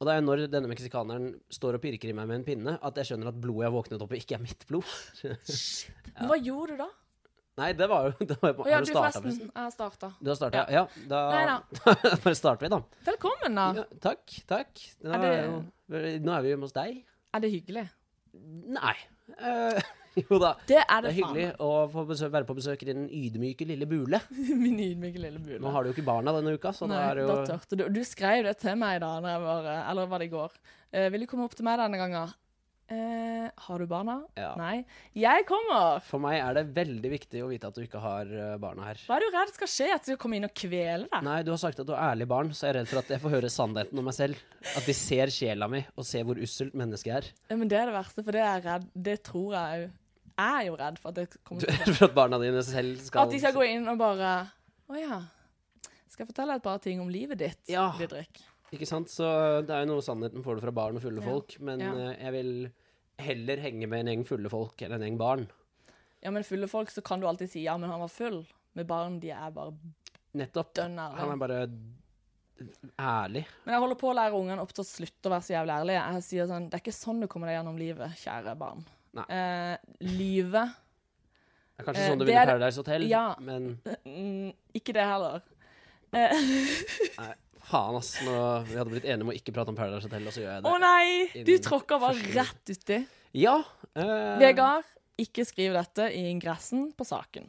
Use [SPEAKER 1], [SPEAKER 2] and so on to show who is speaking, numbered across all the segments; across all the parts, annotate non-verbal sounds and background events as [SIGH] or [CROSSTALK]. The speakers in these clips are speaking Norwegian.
[SPEAKER 1] Og det er jo når denne meksikaneren står og pirker i meg med en pinne, at jeg skjønner at blodet jeg våknet opp i, ikke er mitt blod. [LAUGHS]
[SPEAKER 2] Men Hva gjorde du da?
[SPEAKER 1] Nei, det var jo det var,
[SPEAKER 2] Å ja,
[SPEAKER 1] Har
[SPEAKER 2] du
[SPEAKER 1] du starta,
[SPEAKER 2] forresten.
[SPEAKER 1] forresten?
[SPEAKER 2] Jeg har starta.
[SPEAKER 1] Du har starta? Ja. da,
[SPEAKER 2] Neida.
[SPEAKER 1] [LAUGHS] bare starter vi, da.
[SPEAKER 2] Velkommen, da.
[SPEAKER 1] Ja, takk, takk. Nå
[SPEAKER 2] Er
[SPEAKER 1] er,
[SPEAKER 2] det-
[SPEAKER 1] jo, nå er vi hjemme hos deg.
[SPEAKER 2] Er det hyggelig?
[SPEAKER 1] Nei. Eh, [LAUGHS] jo da.
[SPEAKER 2] Det er
[SPEAKER 1] Det
[SPEAKER 2] det,
[SPEAKER 1] er hyggelig å få besøk, være på besøk i den ydmyke lille bule.
[SPEAKER 2] faen. [LAUGHS] Min ydmyke lille bule.
[SPEAKER 1] Nå har du jo ikke barna denne uka, så da
[SPEAKER 2] Nei,
[SPEAKER 1] er det
[SPEAKER 2] da
[SPEAKER 1] jo
[SPEAKER 2] tørte du. Du skrev det til meg da, når jeg var, eller var det i går. Eh, vil du komme opp til meg denne gangen? Eh, har du barna?
[SPEAKER 1] Ja.
[SPEAKER 2] Nei. Jeg kommer!
[SPEAKER 1] For meg er det veldig viktig å vite at du ikke har eh, barna her.
[SPEAKER 2] Hva er du redd skal skje? At jeg skal komme inn og kvele deg?
[SPEAKER 1] Nei, du har sagt at du er ærlig barn, så jeg er redd for at jeg får høre sannheten om meg selv. At de ser sjela mi, og ser hvor usselt mennesket er. [LAUGHS]
[SPEAKER 2] Ja, Men det er det verste, for det er jeg redd. Det tror jeg òg. Jeg er jo redd for at det kommer
[SPEAKER 1] Du
[SPEAKER 2] til
[SPEAKER 1] er redd for at barna dine selv skal
[SPEAKER 2] At de skal gå inn og bare Å ja. Skal jeg fortelle deg et par ting om livet ditt,
[SPEAKER 1] Ja.
[SPEAKER 2] Didrik?
[SPEAKER 1] Ikke sant? Så eh, det er jo noe sannheten får du fra barn og fulle
[SPEAKER 2] Ja.
[SPEAKER 1] folk, men
[SPEAKER 2] Ja.
[SPEAKER 1] eh, jeg vil heller henge med en gjeng fulle folk enn en gjeng barn.
[SPEAKER 2] Ja, men fulle folk, så kan du alltid si ja, men han var full. Med barn, de er bare
[SPEAKER 1] Nettopp.
[SPEAKER 2] dønn
[SPEAKER 1] Han
[SPEAKER 2] ærlige.
[SPEAKER 1] er bare ærlig.
[SPEAKER 2] Men jeg holder på å lære ungene opp til å slutte å være så jævlig ærlige. Jeg sier sånn, Det er ikke sånn du kommer deg gjennom livet, kjære barn.
[SPEAKER 1] Nei.
[SPEAKER 2] Eh, lyve
[SPEAKER 1] Det er kanskje
[SPEAKER 2] Eh,
[SPEAKER 1] sånn du
[SPEAKER 2] det
[SPEAKER 1] vil i
[SPEAKER 2] er-
[SPEAKER 1] Paradise Hotel,
[SPEAKER 2] Ja.
[SPEAKER 1] men
[SPEAKER 2] mm, Ikke det heller. Eh,
[SPEAKER 1] nei, faen, ass. Nå, vi hadde blitt enige om å ikke prate om Paradise Hotel, og så gjør jeg
[SPEAKER 2] Å
[SPEAKER 1] det.
[SPEAKER 2] nei! Du
[SPEAKER 1] Innen
[SPEAKER 2] tråkker bare
[SPEAKER 1] første-
[SPEAKER 2] rett uti.
[SPEAKER 1] Ja. eh,
[SPEAKER 2] Vegard, ikke skriv dette i ingressen på saken.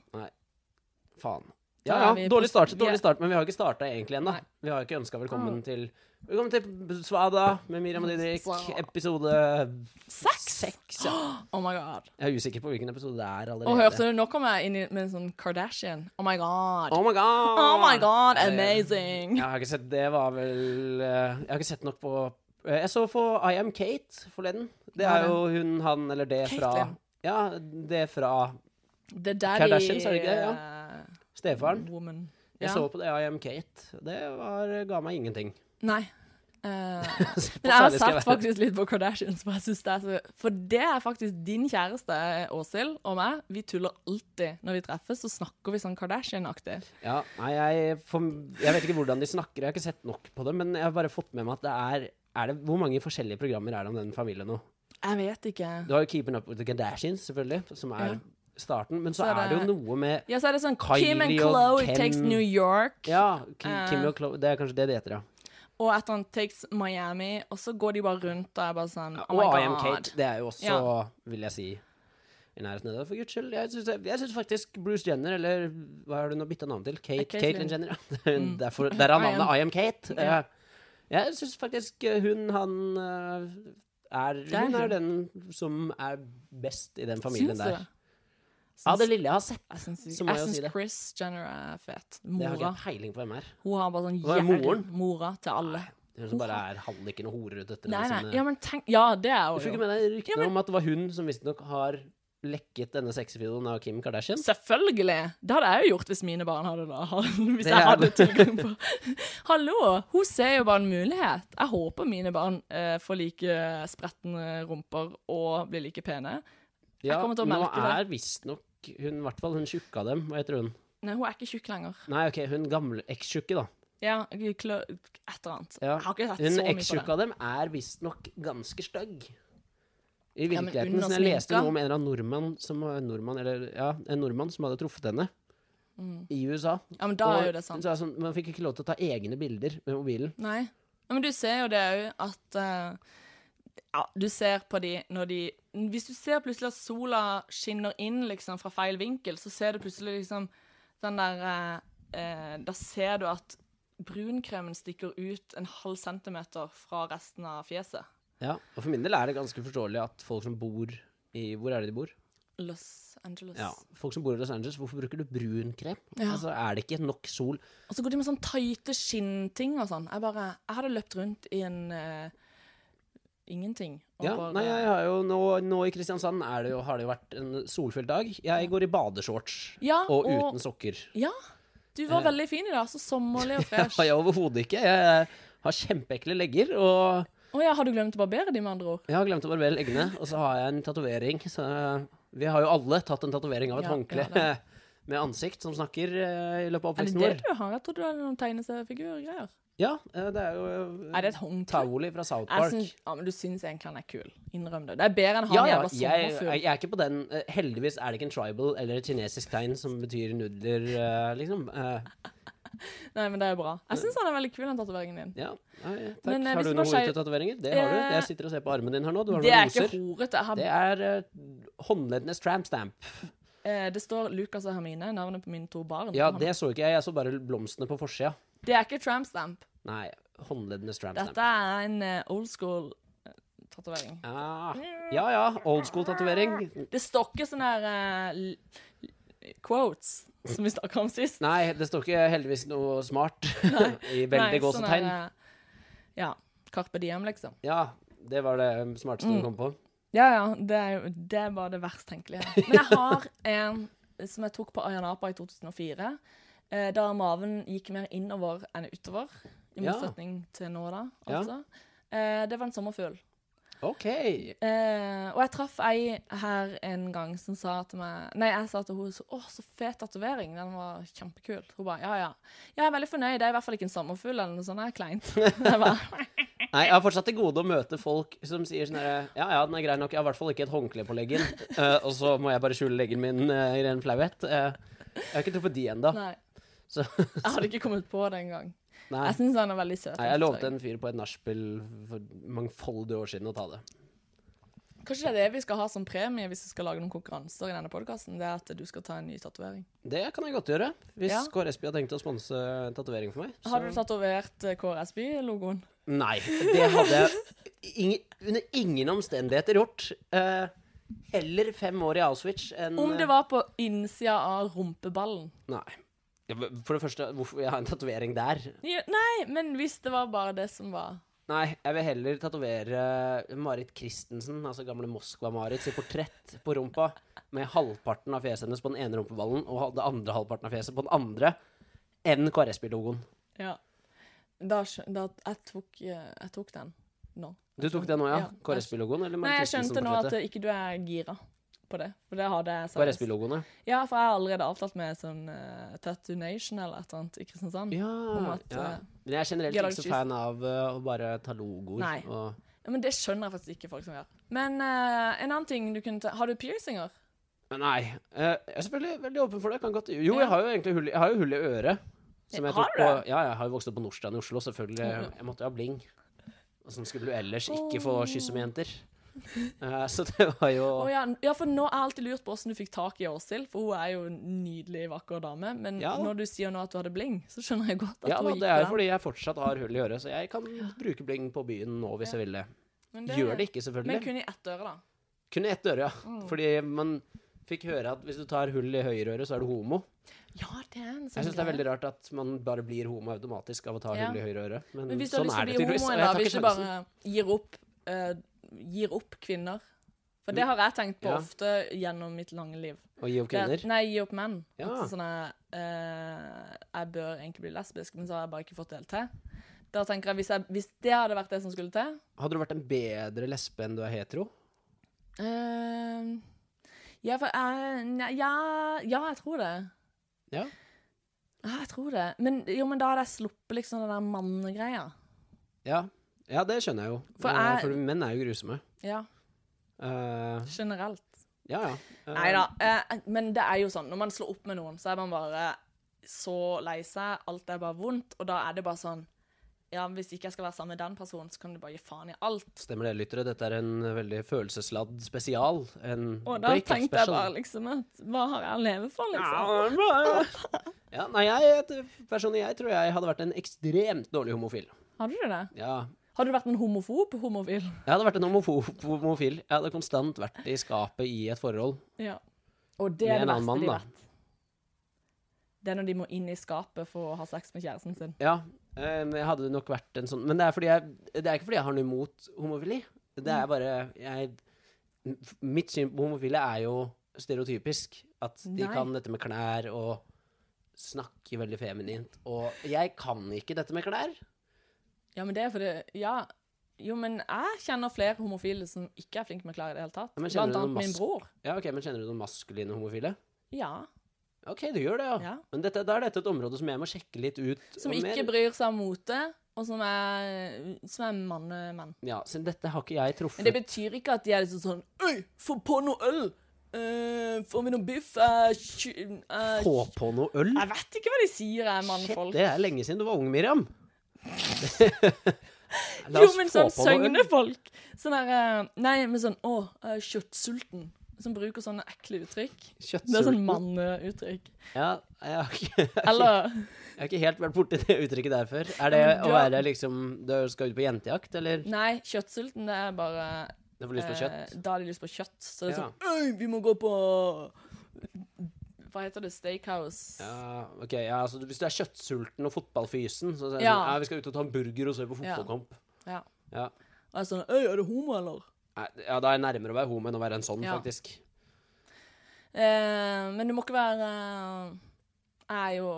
[SPEAKER 1] Faen.
[SPEAKER 2] Da
[SPEAKER 1] Ja,
[SPEAKER 2] er vi
[SPEAKER 1] ja.
[SPEAKER 2] på-
[SPEAKER 1] Dårlig start,
[SPEAKER 2] vi er-
[SPEAKER 1] dårlig start, men vi har ikke starta egentlig ennå.
[SPEAKER 2] Nei. Ah.
[SPEAKER 1] Vi har ikke ønska velkommen til Velkommen til Svada med Miriam og Didrik,
[SPEAKER 2] Svada.
[SPEAKER 1] episode
[SPEAKER 2] Sex!
[SPEAKER 1] seks. Ja.
[SPEAKER 2] Oh my god.
[SPEAKER 1] Jeg er usikker på hvilken episode det er allerede.
[SPEAKER 2] Og hørte du, nå kom jeg inn i- med en sånn Kardashian. Oh my god.
[SPEAKER 1] Oh my god!
[SPEAKER 2] Oh my god,
[SPEAKER 1] Ja, det-
[SPEAKER 2] amazing!
[SPEAKER 1] Jeg har ikke sett Det var vel eh, Jeg har ikke sett nok på eh, Jeg så på I Am Kate forleden. Det
[SPEAKER 2] Hva er
[SPEAKER 1] er jo hun, han eller det fra
[SPEAKER 2] Caitlyn.
[SPEAKER 1] Ja, det fra
[SPEAKER 2] The daddy
[SPEAKER 1] Kardashians, er det ikke det? stefaren.
[SPEAKER 2] eh, Woman.
[SPEAKER 1] Jeg
[SPEAKER 2] Ja.
[SPEAKER 1] så på det I Am Kate. Det var, ga meg ingenting. [LAUGHS]
[SPEAKER 2] Nei. Eh,
[SPEAKER 1] Men
[SPEAKER 2] Men jeg har sett faktisk litt på Kardashians, for jeg synes det er så For det er faktisk din kjæreste, Åshild, og meg. Vi tuller alltid når vi treffes, så snakker vi sånn Kardashian-aktig.
[SPEAKER 1] Ja, nei, jeg, for, jeg vet ikke hvordan de snakker, jeg har ikke sett nok på det, men jeg har bare fått med meg at det er, er det, Hvor mange forskjellige programmer er det om den familien nå?
[SPEAKER 2] Jeg vet ikke.
[SPEAKER 1] Du har jo Keeping Up With The Kardashians, selvfølgelig, som er
[SPEAKER 2] Ja.
[SPEAKER 1] starten, men så,
[SPEAKER 2] Så er
[SPEAKER 1] er det jo
[SPEAKER 2] det-
[SPEAKER 1] noe med
[SPEAKER 2] Ja, så er det sånn
[SPEAKER 1] Kylie
[SPEAKER 2] Kim
[SPEAKER 1] og
[SPEAKER 2] and Chloe
[SPEAKER 1] Ken.
[SPEAKER 2] takes New York,
[SPEAKER 1] Ja, Ki-
[SPEAKER 2] Eh.
[SPEAKER 1] Kimmy og Chloe, det er kanskje det det heter, ja.
[SPEAKER 2] og et annet takes Miami, og så går de bare rundt og er bare sånn Oh
[SPEAKER 1] Og
[SPEAKER 2] my
[SPEAKER 1] I Am
[SPEAKER 2] god.
[SPEAKER 1] Kate, det er jo også,
[SPEAKER 2] Ja.
[SPEAKER 1] vil jeg si, i nærheten av det. For guds skyld, jeg syns- jeg syns faktisk Bruce Jenner, eller hva har du nå bytta navn til? Kate,
[SPEAKER 2] Caitlyn.
[SPEAKER 1] Caitlyn Jenner, ja. [LAUGHS] Det er hun- det er for- Der er
[SPEAKER 2] Mm. I am-
[SPEAKER 1] navnet I Am Kate.
[SPEAKER 2] Ja.
[SPEAKER 1] Eh, Jeg syns faktisk eh, hun, han eh, er
[SPEAKER 2] er
[SPEAKER 1] Hun
[SPEAKER 2] hun.
[SPEAKER 1] er den som er best i den familien
[SPEAKER 2] Syns du
[SPEAKER 1] der.
[SPEAKER 2] det?
[SPEAKER 1] Av det lille jeg har sett.
[SPEAKER 2] Jeg syns,
[SPEAKER 1] Så må jeg
[SPEAKER 2] jeg
[SPEAKER 1] jo
[SPEAKER 2] syns
[SPEAKER 1] si det.
[SPEAKER 2] Chris Jenner er fet.
[SPEAKER 1] Det har ikke
[SPEAKER 2] Mora.
[SPEAKER 1] jeg peiling på hvem er.
[SPEAKER 2] Hun har bare sånn
[SPEAKER 1] Hva er moren?
[SPEAKER 2] Mora til alle.
[SPEAKER 1] Hun som bare er halliken og horer ut etter
[SPEAKER 2] Nei, nei.
[SPEAKER 1] sine-
[SPEAKER 2] Ja, men tenk Ja, det er
[SPEAKER 1] liksom, Du
[SPEAKER 2] hun
[SPEAKER 1] fikk
[SPEAKER 2] jo.
[SPEAKER 1] med deg ryktene
[SPEAKER 2] Ja, men-
[SPEAKER 1] om at det var hun som visstnok har lekket denne sexvideoen av Kim Kardashian.
[SPEAKER 2] Selvfølgelig! Det hadde jeg jo gjort hvis mine barn hadde da. [LAUGHS] Hvis
[SPEAKER 1] Det
[SPEAKER 2] jeg
[SPEAKER 1] er-
[SPEAKER 2] hadde tilgang på [LAUGHS] Hallo! Hun ser jo bare en mulighet. Jeg håper mine barn eh, får like spretne rumper og blir like pene. Jeg kommer til å
[SPEAKER 1] nå
[SPEAKER 2] merke det.
[SPEAKER 1] er visstnok hun, i hvert fall hun tjukka dem, hva heter hun?
[SPEAKER 2] Nei, hun er ikke tjukk lenger.
[SPEAKER 1] Nei, ok, hun gamle ekstjukke, da.
[SPEAKER 2] Ja, klø... Et eller annet.
[SPEAKER 1] Ja.
[SPEAKER 2] Jeg har ikke sett
[SPEAKER 1] Hun
[SPEAKER 2] så mye på
[SPEAKER 1] ekstjukke
[SPEAKER 2] det.
[SPEAKER 1] av dem er visstnok ganske stygg. I
[SPEAKER 2] Ja, men
[SPEAKER 1] virkeligheten.
[SPEAKER 2] under
[SPEAKER 1] så jeg leste
[SPEAKER 2] sminka?
[SPEAKER 1] noe om en eller annen nordmann som, eh, nordmann, eller, ja, en nordmann som hadde truffet henne i USA.
[SPEAKER 2] Ja, men Mm. da
[SPEAKER 1] Og
[SPEAKER 2] er jo det sant.
[SPEAKER 1] hun sa sånn, man fikk ikke lov til å ta egne bilder med mobilen.
[SPEAKER 2] Nei. Ja, men du ser jo det òg at eh, Ja, du ser på de når de Hvis du ser plutselig at sola skinner inn liksom fra feil vinkel, så ser du plutselig liksom den der eh, eh, Da ser du at brunkremen stikker ut en halv centimeter fra resten av fjeset.
[SPEAKER 1] Ja, og for min del er det ganske forståelig at folk som bor i Hvor er det de bor?
[SPEAKER 2] Los Angeles.
[SPEAKER 1] Ja, Folk som bor i Los Angeles, hvorfor bruker du brunkrem?
[SPEAKER 2] Ja.
[SPEAKER 1] Altså, er det ikke nok sol?
[SPEAKER 2] Og så går de med sånn tighte skinnting og sånn. Jeg bare Jeg hadde løpt rundt i en eh, ingenting. og
[SPEAKER 1] Ja,
[SPEAKER 2] bare-
[SPEAKER 1] nei, jeg har jo nå, nå i Kristiansand er det jo, har det jo vært en solfylt dag. Jeg går i badeshorts
[SPEAKER 2] Ja,
[SPEAKER 1] og
[SPEAKER 2] og-
[SPEAKER 1] uten sokker.
[SPEAKER 2] Ja. Du var
[SPEAKER 1] Eh.
[SPEAKER 2] veldig fin i dag. Så sommerlig
[SPEAKER 1] Jeg
[SPEAKER 2] og
[SPEAKER 1] [LAUGHS]
[SPEAKER 2] fresh.
[SPEAKER 1] har jeg overhodet ikke. Jeg har kjempeekle legger, og
[SPEAKER 2] Å ja, har du glemt å barbere de med andre ord?
[SPEAKER 1] jeg har glemt å barbere leggene. Og så har jeg en tatovering. Så vi har jo alle tatt en tatovering av et
[SPEAKER 2] Ja,
[SPEAKER 1] håndkle
[SPEAKER 2] ja,
[SPEAKER 1] [LAUGHS] med ansikt som snakker eh, i løpet av
[SPEAKER 2] Er det
[SPEAKER 1] oppveksten
[SPEAKER 2] det
[SPEAKER 1] vår.
[SPEAKER 2] du har? Jeg trodde du hadde noen tegneseriefigurgreier.
[SPEAKER 1] Ja, eh, det er jo
[SPEAKER 2] Er
[SPEAKER 1] eh,
[SPEAKER 2] det et håndkle?
[SPEAKER 1] Taoli fra South
[SPEAKER 2] Jeg
[SPEAKER 1] Park.
[SPEAKER 2] syns- ja, men du syns egentlig han er kul. Innrøm det. Det er bedre enn han
[SPEAKER 1] Ja, ja,
[SPEAKER 2] jævla
[SPEAKER 1] jeg,
[SPEAKER 2] sommerfugl.
[SPEAKER 1] jeg er ikke på den. Eh, Heldigvis er det ikke en tribal eller et kinesisk tegn som betyr nudler, eh, liksom. Eh,
[SPEAKER 2] Nei, men det er bra. Jeg syns han er veldig kul, den tatoveringen din.
[SPEAKER 1] Ja, nei, takk.
[SPEAKER 2] Men, eh,
[SPEAKER 1] har
[SPEAKER 2] hvis
[SPEAKER 1] du
[SPEAKER 2] man
[SPEAKER 1] noen
[SPEAKER 2] skei-
[SPEAKER 1] horete tatoveringer? Det har du.
[SPEAKER 2] Eh,
[SPEAKER 1] Jeg sitter og ser på armen din her nå. Du har
[SPEAKER 2] Det er
[SPEAKER 1] noen
[SPEAKER 2] ikke
[SPEAKER 1] roser.
[SPEAKER 2] horete. Jeg har-
[SPEAKER 1] Det er eh, håndleddenes tramp stamp.
[SPEAKER 2] eh, Det står Lucas og Hermine, navnet på mine to barn.
[SPEAKER 1] Ja,
[SPEAKER 2] på ham.
[SPEAKER 1] det så ikke jeg. Jeg så bare blomstene på forsida.
[SPEAKER 2] det er ikke tramp stamp.
[SPEAKER 1] Nei, håndleddenes tramp
[SPEAKER 2] Dette
[SPEAKER 1] stamp.
[SPEAKER 2] er en eh, old school eh, tatovering.
[SPEAKER 1] Ah, ja ja, old school-tatovering.
[SPEAKER 2] Det står ikke sånne her, eh, l- quotes som vi snakka om sist.
[SPEAKER 1] Nei, det står ikke heldigvis noe smart [LAUGHS] i veldig
[SPEAKER 2] Nei, sånn sånne
[SPEAKER 1] gåsetegn.
[SPEAKER 2] her, eh, Ja. Carpe diem, liksom.
[SPEAKER 1] Ja, det var det smarteste
[SPEAKER 2] Mm.
[SPEAKER 1] du kom på.
[SPEAKER 2] Ja, ja. Det er, jo- det er bare det verst tenkelige. Men
[SPEAKER 1] [LAUGHS]
[SPEAKER 2] jeg har en som jeg tok på Ayanapa i 2004. Eh, da maven gikk mer innover enn utover. I
[SPEAKER 1] Ja.
[SPEAKER 2] motsetning til nå, da.
[SPEAKER 1] Ja.
[SPEAKER 2] Altså. Eh, det var en sommerfugl.
[SPEAKER 1] OK.
[SPEAKER 2] Eh, og jeg traff ei her en gang som sa til meg Nei, jeg sa til henne så, 'Å, så fet tatovering. Den var kjempekul.' Hun bare 'Ja, ja'. 'Jeg er veldig fornøyd. Det er i hvert fall ikke en sommerfugl eller noe sånt. Det
[SPEAKER 1] [LAUGHS]
[SPEAKER 2] er kleint.' Jeg bare,
[SPEAKER 1] Nei, Jeg har fortsatt til gode å møte folk som sier sånn herre Ja ja, den er grei nok. Jeg har i hvert fall ikke et håndkle på leggen. Eh, og så må jeg bare skjule leggen min eh, i ren flauhet. Eh, jeg har ikke truffet de ennå.
[SPEAKER 2] Nei.
[SPEAKER 1] Så [LAUGHS]
[SPEAKER 2] Jeg hadde ikke kommet på det engang.
[SPEAKER 1] nei.
[SPEAKER 2] Jeg syns han er veldig søt.
[SPEAKER 1] Nei, jeg lovte en fyr på et nachspiel for mangfoldige år siden å ta det.
[SPEAKER 2] Kanskje det er det vi skal ha som premie hvis vi skal lage noen konkurranser i denne podkasten, det er at du skal ta en ny tatovering.
[SPEAKER 1] Det kan jeg godt gjøre, hvis
[SPEAKER 2] Ja.
[SPEAKER 1] KRSB har tenkt å sponse en tatovering for meg. så-
[SPEAKER 2] Har du tatovert eh, KRS By-logoen?
[SPEAKER 1] Nei, det hadde jeg ingen, under ingen omstendigheter gjort. Eh, heller fem år i Auschwitz enn eh,
[SPEAKER 2] Om det var på innsida av rumpeballen.
[SPEAKER 1] Nei. Ja, men For det første, hvorfor vil jeg ha en tatovering der?
[SPEAKER 2] Ja, Nei, men hvis det var bare det som var
[SPEAKER 1] Nei, jeg vil heller tatovere Marit Christensen, altså gamle Moskva-Marit, sitt portrett på rumpa med halvparten av fjeset hennes på den ene rumpeballen og den andre halvparten av fjeset på den andre enn KRSB-logoen.
[SPEAKER 2] Ja. Da, skjø- da jeg, tok, eh, jeg tok den nå.
[SPEAKER 1] Du tok det nå, ja?
[SPEAKER 2] Ja.
[SPEAKER 1] KRSB-logoen eller
[SPEAKER 2] Nei,
[SPEAKER 1] Marit
[SPEAKER 2] jeg skjønte nå at
[SPEAKER 1] Christensen-portrettet?
[SPEAKER 2] eh, ikke du er gira på det. For det hadde jeg seriøst.
[SPEAKER 1] KRSB-logoen, ja.
[SPEAKER 2] Ja, for jeg har allerede avtalt med sånn eh, Tattoo Nation eller et eller annet i Kristiansand.
[SPEAKER 1] Ja,
[SPEAKER 2] at,
[SPEAKER 1] ja.
[SPEAKER 2] eh,
[SPEAKER 1] Men jeg er generelt
[SPEAKER 2] de
[SPEAKER 1] ikke
[SPEAKER 2] har laget
[SPEAKER 1] så
[SPEAKER 2] kyss.
[SPEAKER 1] fan av eh, å bare ta logoer.
[SPEAKER 2] Nei.
[SPEAKER 1] Og...
[SPEAKER 2] Ja, Men det skjønner jeg faktisk ikke folk som gjør. Men eh, en annen ting du kunne ta Har du piercinger?
[SPEAKER 1] Nei. eh, jeg er selvfølgelig veldig åpen for det. Kan godt... Jo,
[SPEAKER 2] Ja.
[SPEAKER 1] jeg har jo egentlig hull, i- jeg har jo hull i øret. Som jeg
[SPEAKER 2] Har
[SPEAKER 1] tok
[SPEAKER 2] du
[SPEAKER 1] på...
[SPEAKER 2] det?
[SPEAKER 1] Ja, jeg har jo vokst opp på Nordstrand i Oslo, selvfølgelig. Jeg måtte jo ha bling. Og som skulle du ellers ikke få kysse med jenter. Eh, så det var jo
[SPEAKER 2] Å ja. ja, for nå har jeg alltid lurt på hvordan du fikk tak i Åshild, for hun er jo en nydelig, vakker dame. Men
[SPEAKER 1] Ja.
[SPEAKER 2] når du sier nå at du hadde bling, så skjønner jeg godt at
[SPEAKER 1] Ja da,
[SPEAKER 2] hun gikk
[SPEAKER 1] det er jo
[SPEAKER 2] for
[SPEAKER 1] fordi jeg fortsatt har hull i øret, så jeg kan bruke bling på byen nå hvis jeg vil det.
[SPEAKER 2] Men
[SPEAKER 1] Gjør det ikke, selvfølgelig.
[SPEAKER 2] Men kun i ett øre, da.
[SPEAKER 1] Kun i ett øre, ja. Fordi man fikk høre at hvis du tar hull i høyreøret, så er du homo.
[SPEAKER 2] Ja, det er en sånn
[SPEAKER 1] Jeg syns det er
[SPEAKER 2] greie.
[SPEAKER 1] veldig rart at man bare blir homo automatisk av å ta
[SPEAKER 2] Ja.
[SPEAKER 1] hull i høyreøret. Men,
[SPEAKER 2] Men hvis du har
[SPEAKER 1] sånn
[SPEAKER 2] lyst til
[SPEAKER 1] er
[SPEAKER 2] å
[SPEAKER 1] det
[SPEAKER 2] bli
[SPEAKER 1] tydeligvis.
[SPEAKER 2] homo
[SPEAKER 1] Og
[SPEAKER 2] en
[SPEAKER 1] jeg
[SPEAKER 2] dag,
[SPEAKER 1] tar
[SPEAKER 2] hvis
[SPEAKER 1] ikke sånn-
[SPEAKER 2] du
[SPEAKER 1] sjansen.
[SPEAKER 2] bare gir opp, eh, gir opp kvinner For det har jeg tenkt på
[SPEAKER 1] Mm. Ja.
[SPEAKER 2] ofte gjennom mitt lange liv.
[SPEAKER 1] Å gi opp
[SPEAKER 2] Det er-
[SPEAKER 1] kvinner.
[SPEAKER 2] nei, gi opp menn.
[SPEAKER 1] Ja.
[SPEAKER 2] At sånn er, eh, jeg bør egentlig bli lesbisk, men så har jeg bare ikke fått det helt til. Da tenker jeg, hvis, jeg, hvis det hadde vært det som skulle til
[SPEAKER 1] Hadde du vært en bedre lesbe enn du er hetero?
[SPEAKER 2] eh, ja, for jeg, nei, ja, ja, jeg tror det.
[SPEAKER 1] Ja.
[SPEAKER 2] Ja, jeg tror det. Men, jo, men da hadde jeg sluppet liksom den der mannegreia.
[SPEAKER 1] Ja, ja det skjønner jeg jo. Eh, For,
[SPEAKER 2] For jeg-
[SPEAKER 1] For menn er jo grusomme.
[SPEAKER 2] Ja,
[SPEAKER 1] Eh,
[SPEAKER 2] generelt.
[SPEAKER 1] ja, ja. Eh,
[SPEAKER 2] Nei da. Eh, men det er jo sånn, når man slår opp med noen, så er man bare så lei seg. Alt er bare vondt. Og da er det bare sånn Ja, hvis ikke jeg skal være sammen med den personen, så kan du bare gi faen i alt.
[SPEAKER 1] Stemmer det, lyttere. Dette er en veldig følelsesladd spesial. En
[SPEAKER 2] Og da
[SPEAKER 1] breakup
[SPEAKER 2] tenkte jeg
[SPEAKER 1] special.
[SPEAKER 2] bare liksom at Hva har jeg å leve for, liksom?
[SPEAKER 1] Ja, nei, jeg, personlig, jeg tror jeg hadde vært en ekstremt dårlig homofil.
[SPEAKER 2] Hadde du det?
[SPEAKER 1] Ja,
[SPEAKER 2] Har du vært en homofob homofil?
[SPEAKER 1] Jeg hadde vært en homofo- homofil. Jeg hadde konstant vært i skapet i et forhold.
[SPEAKER 2] Ja. Og det er
[SPEAKER 1] Med
[SPEAKER 2] det
[SPEAKER 1] en annen
[SPEAKER 2] verste de
[SPEAKER 1] mann, da.
[SPEAKER 2] vet. Det er når de må inn i skapet for å ha sex med kjæresten sin.
[SPEAKER 1] Ja, eh, men jeg hadde nok vært en sånn Men det er, fordi jeg, det er ikke fordi jeg har noe imot homofili. Det
[SPEAKER 2] Mm.
[SPEAKER 1] er bare jeg, Mitt syn på homofile er jo stereotypisk. At de
[SPEAKER 2] Nei.
[SPEAKER 1] kan dette med klær og snakke veldig feminint. Og jeg kan ikke dette med klær.
[SPEAKER 2] Ja, men det er fordi Ja. Jo, men jeg kjenner flere homofile som ikke er flinke med klær i det hele tatt.
[SPEAKER 1] Ja, men kjenner
[SPEAKER 2] Blant
[SPEAKER 1] du noen
[SPEAKER 2] annet min
[SPEAKER 1] mas-
[SPEAKER 2] bror.
[SPEAKER 1] Ja, ok, Men kjenner du noen maskuline homofile?
[SPEAKER 2] Ja.
[SPEAKER 1] Ok, du gjør det, ja.
[SPEAKER 2] Ja.
[SPEAKER 1] Men dette, da er dette et område som jeg må sjekke litt ut.
[SPEAKER 2] Som
[SPEAKER 1] og
[SPEAKER 2] ikke
[SPEAKER 1] mer-
[SPEAKER 2] bryr seg om mote, og som er, som er mannemenn.
[SPEAKER 1] Ja, så dette har ikke jeg
[SPEAKER 2] Men det
[SPEAKER 1] truffet.
[SPEAKER 2] betyr ikke at de er liksom sånn Øy, få på noe øl! Eh, får vi noe biff? Eh, kjø- eh,
[SPEAKER 1] Få på noe øl?
[SPEAKER 2] Jeg vet ikke hva de sier, jeg,
[SPEAKER 1] Shit,
[SPEAKER 2] mannfolk.
[SPEAKER 1] det er lenge siden du var ung,
[SPEAKER 2] [LAUGHS]
[SPEAKER 1] Miriam. La
[SPEAKER 2] Jo,
[SPEAKER 1] oss
[SPEAKER 2] men
[SPEAKER 1] få
[SPEAKER 2] sånn
[SPEAKER 1] på noe øl.
[SPEAKER 2] søgnefolk. Sånn der eh, Nei, men sånn Å, jeg er kjøttsulten. Som bruker sånne ekle uttrykk. [LAUGHS] Det er sånn
[SPEAKER 1] Kjøttsulten.
[SPEAKER 2] manneuttrykk.
[SPEAKER 1] Ja, jeg har, ikke, [LAUGHS]
[SPEAKER 2] Eller
[SPEAKER 1] jeg har ikke helt vært borti det uttrykket der før. Er det
[SPEAKER 2] Ja, men
[SPEAKER 1] å
[SPEAKER 2] du har-
[SPEAKER 1] være liksom Du skal ut på jentejakt, eller?
[SPEAKER 2] Nei, kjøttsulten, det er bare
[SPEAKER 1] Du får lyst på kjøtt?
[SPEAKER 2] eh, Da har de lyst på kjøtt. Så det er
[SPEAKER 1] Ja.
[SPEAKER 2] sånn Øy, vi må gå på Hva heter det? Steakhouse?
[SPEAKER 1] Ja, ok, ja, altså Hvis du er kjøttsulten og fotballfysen, så sier du
[SPEAKER 2] Ja.
[SPEAKER 1] ja, vi skal ut og ta en burger og se på
[SPEAKER 2] Ja.
[SPEAKER 1] fotballkamp.
[SPEAKER 2] Ja.
[SPEAKER 1] Ja.
[SPEAKER 2] Og jeg er sånn Øy, er du homo, eller?
[SPEAKER 1] Nei, ja, da er jeg nærmere å være homo enn å være en sånn,
[SPEAKER 2] Ja.
[SPEAKER 1] faktisk.
[SPEAKER 2] Eh, men du må ikke være Jeg er jo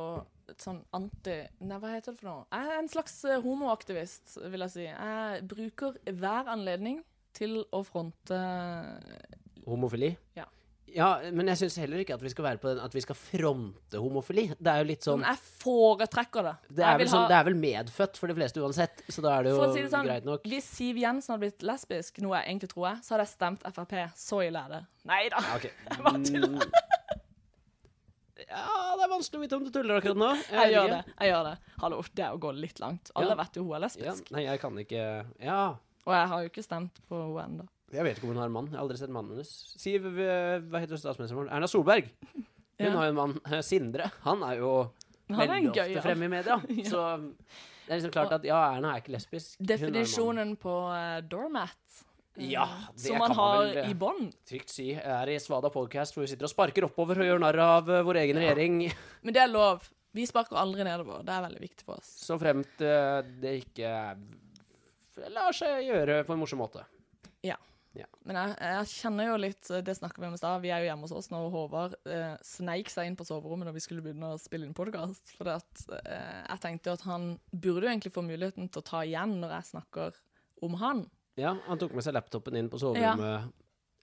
[SPEAKER 2] et sånn anti... Nei, hva heter det for noe? Jeg er en slags eh, homoaktivist, vil jeg si. Jeg bruker hver anledning til å fronte eh,
[SPEAKER 1] Homofili?
[SPEAKER 2] Ja.
[SPEAKER 1] Ja, men jeg syns heller ikke at vi skal være på den at vi skal fronte homofili. Det er jo litt sånn
[SPEAKER 2] Men jeg foretrekker det.
[SPEAKER 1] Det
[SPEAKER 2] Jeg
[SPEAKER 1] er,
[SPEAKER 2] vil
[SPEAKER 1] vel sånn,
[SPEAKER 2] ha-
[SPEAKER 1] det er vel medfødt for de fleste uansett, så da er det
[SPEAKER 2] For
[SPEAKER 1] jo
[SPEAKER 2] å si det sånn,
[SPEAKER 1] greit nok.
[SPEAKER 2] hvis Siv Jensen hadde blitt lesbisk, noe jeg egentlig tror jeg, så hadde jeg stemt Frp. Så ille er det. Nei da.
[SPEAKER 1] Ja,
[SPEAKER 2] [LAUGHS]
[SPEAKER 1] ok.
[SPEAKER 2] bare tuller.
[SPEAKER 1] Mm. ja, det er vanskelig å vite om du tuller akkurat nå.
[SPEAKER 2] [LAUGHS] Jeg
[SPEAKER 1] vet
[SPEAKER 2] gjør det.
[SPEAKER 1] ikke.
[SPEAKER 2] jeg gjør det. Hallo, det er å gå litt langt. Alle
[SPEAKER 1] Ja.
[SPEAKER 2] vet jo hun er
[SPEAKER 1] Ja,
[SPEAKER 2] lesbisk.
[SPEAKER 1] nei, jeg kan ikke Ja.
[SPEAKER 2] Og jeg har jo ikke stemt på henne ennå.
[SPEAKER 1] Jeg vet ikke om hun har mann. Jeg har aldri sett mannen hennes. Siv eh, Hva heter statsministeren vår? Erna Solberg. Hun
[SPEAKER 2] Ja.
[SPEAKER 1] har jo en mann. Eh, Sindre. Han er jo
[SPEAKER 2] Han er en
[SPEAKER 1] veldig
[SPEAKER 2] gøy,
[SPEAKER 1] ofte fremme i media.
[SPEAKER 2] [LAUGHS] Ja.
[SPEAKER 1] Så det er liksom klart at ja, Erna er ikke lesbisk. Hun er en mann.
[SPEAKER 2] Definisjonen på eh, doormat, eh,
[SPEAKER 1] Ja, det
[SPEAKER 2] som man
[SPEAKER 1] kan man
[SPEAKER 2] har
[SPEAKER 1] vel, eh,
[SPEAKER 2] i bånn.
[SPEAKER 1] Trygt si. Jeg er i Svada podcast hvor vi sitter og sparker oppover og gjør narr av eh, vår egen regjering. [LAUGHS]
[SPEAKER 2] Men det er lov. Vi sparker aldri nedover. Det er veldig viktig for oss.
[SPEAKER 1] Så fremt eh, det ikke eh, lar seg gjøre på en morsom måte.
[SPEAKER 2] Men jeg, jeg kjenner jo litt eh, Det snakket vi om i stad. Vi er jo hjemme hos oss når Håvard eh, sneik seg inn på soverommet når vi skulle begynne å spille inn podkast. For at, eh, jeg tenkte jo at han burde jo egentlig få muligheten til å ta igjen når jeg snakker om han.
[SPEAKER 1] Ja, han tok med seg laptopen inn på soverommet.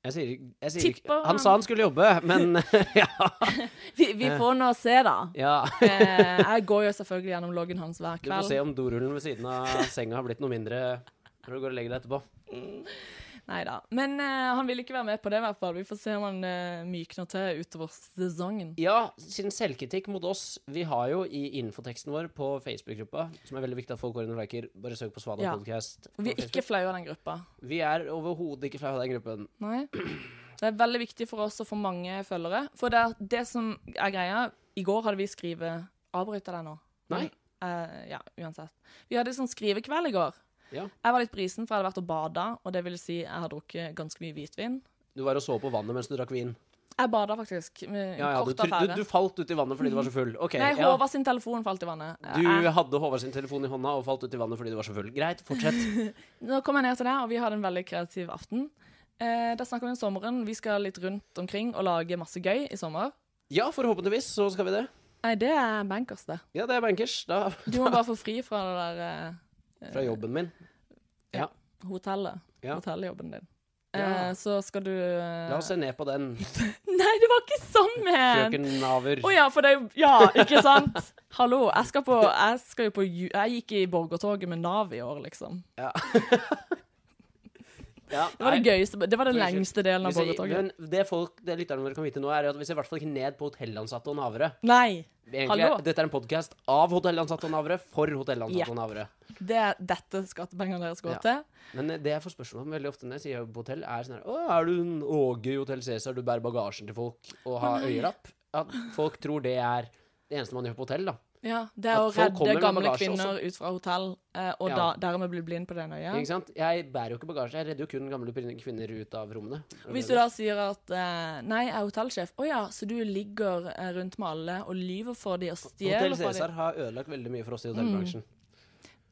[SPEAKER 1] Jeg sier, ikke- jeg sier ikke
[SPEAKER 2] Tipper
[SPEAKER 1] Han sa han skulle jobbe, men [LAUGHS] ja,
[SPEAKER 2] Vi, vi får nå se, da.
[SPEAKER 1] ja.
[SPEAKER 2] Eh, jeg går jo selvfølgelig gjennom loggen hans hver
[SPEAKER 1] Du får
[SPEAKER 2] kveld.
[SPEAKER 1] se om dorullen ved siden av senga har blitt noe mindre når du går og legger deg etterpå.
[SPEAKER 2] Nei da. Men eh, han vil ikke være med på det, i hvert fall. Vi får se om han eh, mykner til utover sesongen.
[SPEAKER 1] Ja, siden selvkritikk mot oss Vi har jo i infoteksten vår på Facebook-gruppa, som er veldig viktig at folk går inn og liker, bare søk på Svada
[SPEAKER 2] Ja.
[SPEAKER 1] podcast. på
[SPEAKER 2] Vi er ikke
[SPEAKER 1] Facebook.
[SPEAKER 2] flaue av den gruppa.
[SPEAKER 1] vi er overhodet ikke flaue av den gruppen.
[SPEAKER 2] Nei. Det er veldig viktig for oss å få mange følgere. For det, er det som er greia I går hadde vi skrive Avbryter deg nå.
[SPEAKER 1] Nei.
[SPEAKER 2] Eh, ja, uansett. Vi hadde sånn skrivekveld i går.
[SPEAKER 1] Ja.
[SPEAKER 2] Jeg var litt brisen, for jeg hadde vært og bada, og det vil si jeg har drukket ganske mye hvitvin.
[SPEAKER 1] Du var og så på vannet mens du drakk vin.
[SPEAKER 2] Jeg bada faktisk. Med
[SPEAKER 1] Ja, ja, du,
[SPEAKER 2] kort
[SPEAKER 1] tro-
[SPEAKER 2] affære.
[SPEAKER 1] du, du falt uti vannet fordi du var så full. Ok,
[SPEAKER 2] Nei,
[SPEAKER 1] ja.
[SPEAKER 2] Håvard sin telefon falt i vannet. Eh, Jeg-
[SPEAKER 1] Du hadde Håvard sin telefon i hånda og falt uti vannet fordi du var så full. Greit, fortsett.
[SPEAKER 2] [LAUGHS] Nå kom jeg ned til deg, og vi hadde en veldig kreativ aften. Eh, da snakker vi om sommeren. Vi skal litt rundt omkring og lage masse gøy i sommer.
[SPEAKER 1] Ja, forhåpentligvis så skal vi det.
[SPEAKER 2] Nei, det er bankers, det.
[SPEAKER 1] Ja, det er bankers. Da,
[SPEAKER 2] Du [LAUGHS] må bare få fri fra det der eh,
[SPEAKER 1] fra jobben min.
[SPEAKER 2] hotellet.
[SPEAKER 1] Ja.
[SPEAKER 2] Hotelljobben din.
[SPEAKER 1] Ja.
[SPEAKER 2] Eh, så skal du eh...
[SPEAKER 1] La oss se ned på den,
[SPEAKER 2] Nei, det var ikke sånn ment!
[SPEAKER 1] frøken Naver.
[SPEAKER 2] Å ja, for det er jo Ja, ikke sant? [LAUGHS] Hallo, jeg skal på Jeg, skal jo på, ju- jeg gikk i borgertoget med Nav i år, liksom.
[SPEAKER 1] Ja,
[SPEAKER 2] Det var
[SPEAKER 1] nei.
[SPEAKER 2] det gøyeste Det var den
[SPEAKER 1] Unnskyld.
[SPEAKER 2] lengste delen av
[SPEAKER 1] Hvis jeg,
[SPEAKER 2] borgertoget.
[SPEAKER 1] men det folk, det lytterne våre kan vite nå, er jo at vi ser i hvert fall ikke ned på hotellansatte og navere.
[SPEAKER 2] Nei!
[SPEAKER 1] Egentlig,
[SPEAKER 2] Hallo.
[SPEAKER 1] er- dette er en podkast av hotellansatte og navere for hotellansatte
[SPEAKER 2] Ja.
[SPEAKER 1] og navere.
[SPEAKER 2] Det er dette skattepengene deres går
[SPEAKER 1] Ja.
[SPEAKER 2] til.
[SPEAKER 1] Men eh, det jeg får spørsmål om veldig ofte når jeg sier på hotell, er sånn her Å, er du en Åge i Hotell Cæsar? Du bærer bagasjen til folk og har øyelapp? At folk tror det er det eneste man gjør på hotell, da.
[SPEAKER 2] Ja, det er
[SPEAKER 1] At
[SPEAKER 2] å
[SPEAKER 1] folk kommer med
[SPEAKER 2] redde gamle
[SPEAKER 1] bagasje
[SPEAKER 2] kvinner ut fra hotell, eh, og
[SPEAKER 1] Ja.
[SPEAKER 2] da, dermed bli blind på det øya.
[SPEAKER 1] Ikke sant? Jeg bærer jo ikke bagasje, jeg redder jo kun gamle prin- kvinner ut av rommene.
[SPEAKER 2] Hvis du da sier at eh, 'nei, jeg er hotellsjef', å ja, så du ligger eh, rundt med alle og lyver for de og
[SPEAKER 1] Hotell
[SPEAKER 2] stjeler fra de.
[SPEAKER 1] Cæsar har ødelagt veldig mye for oss i hotellbransjen.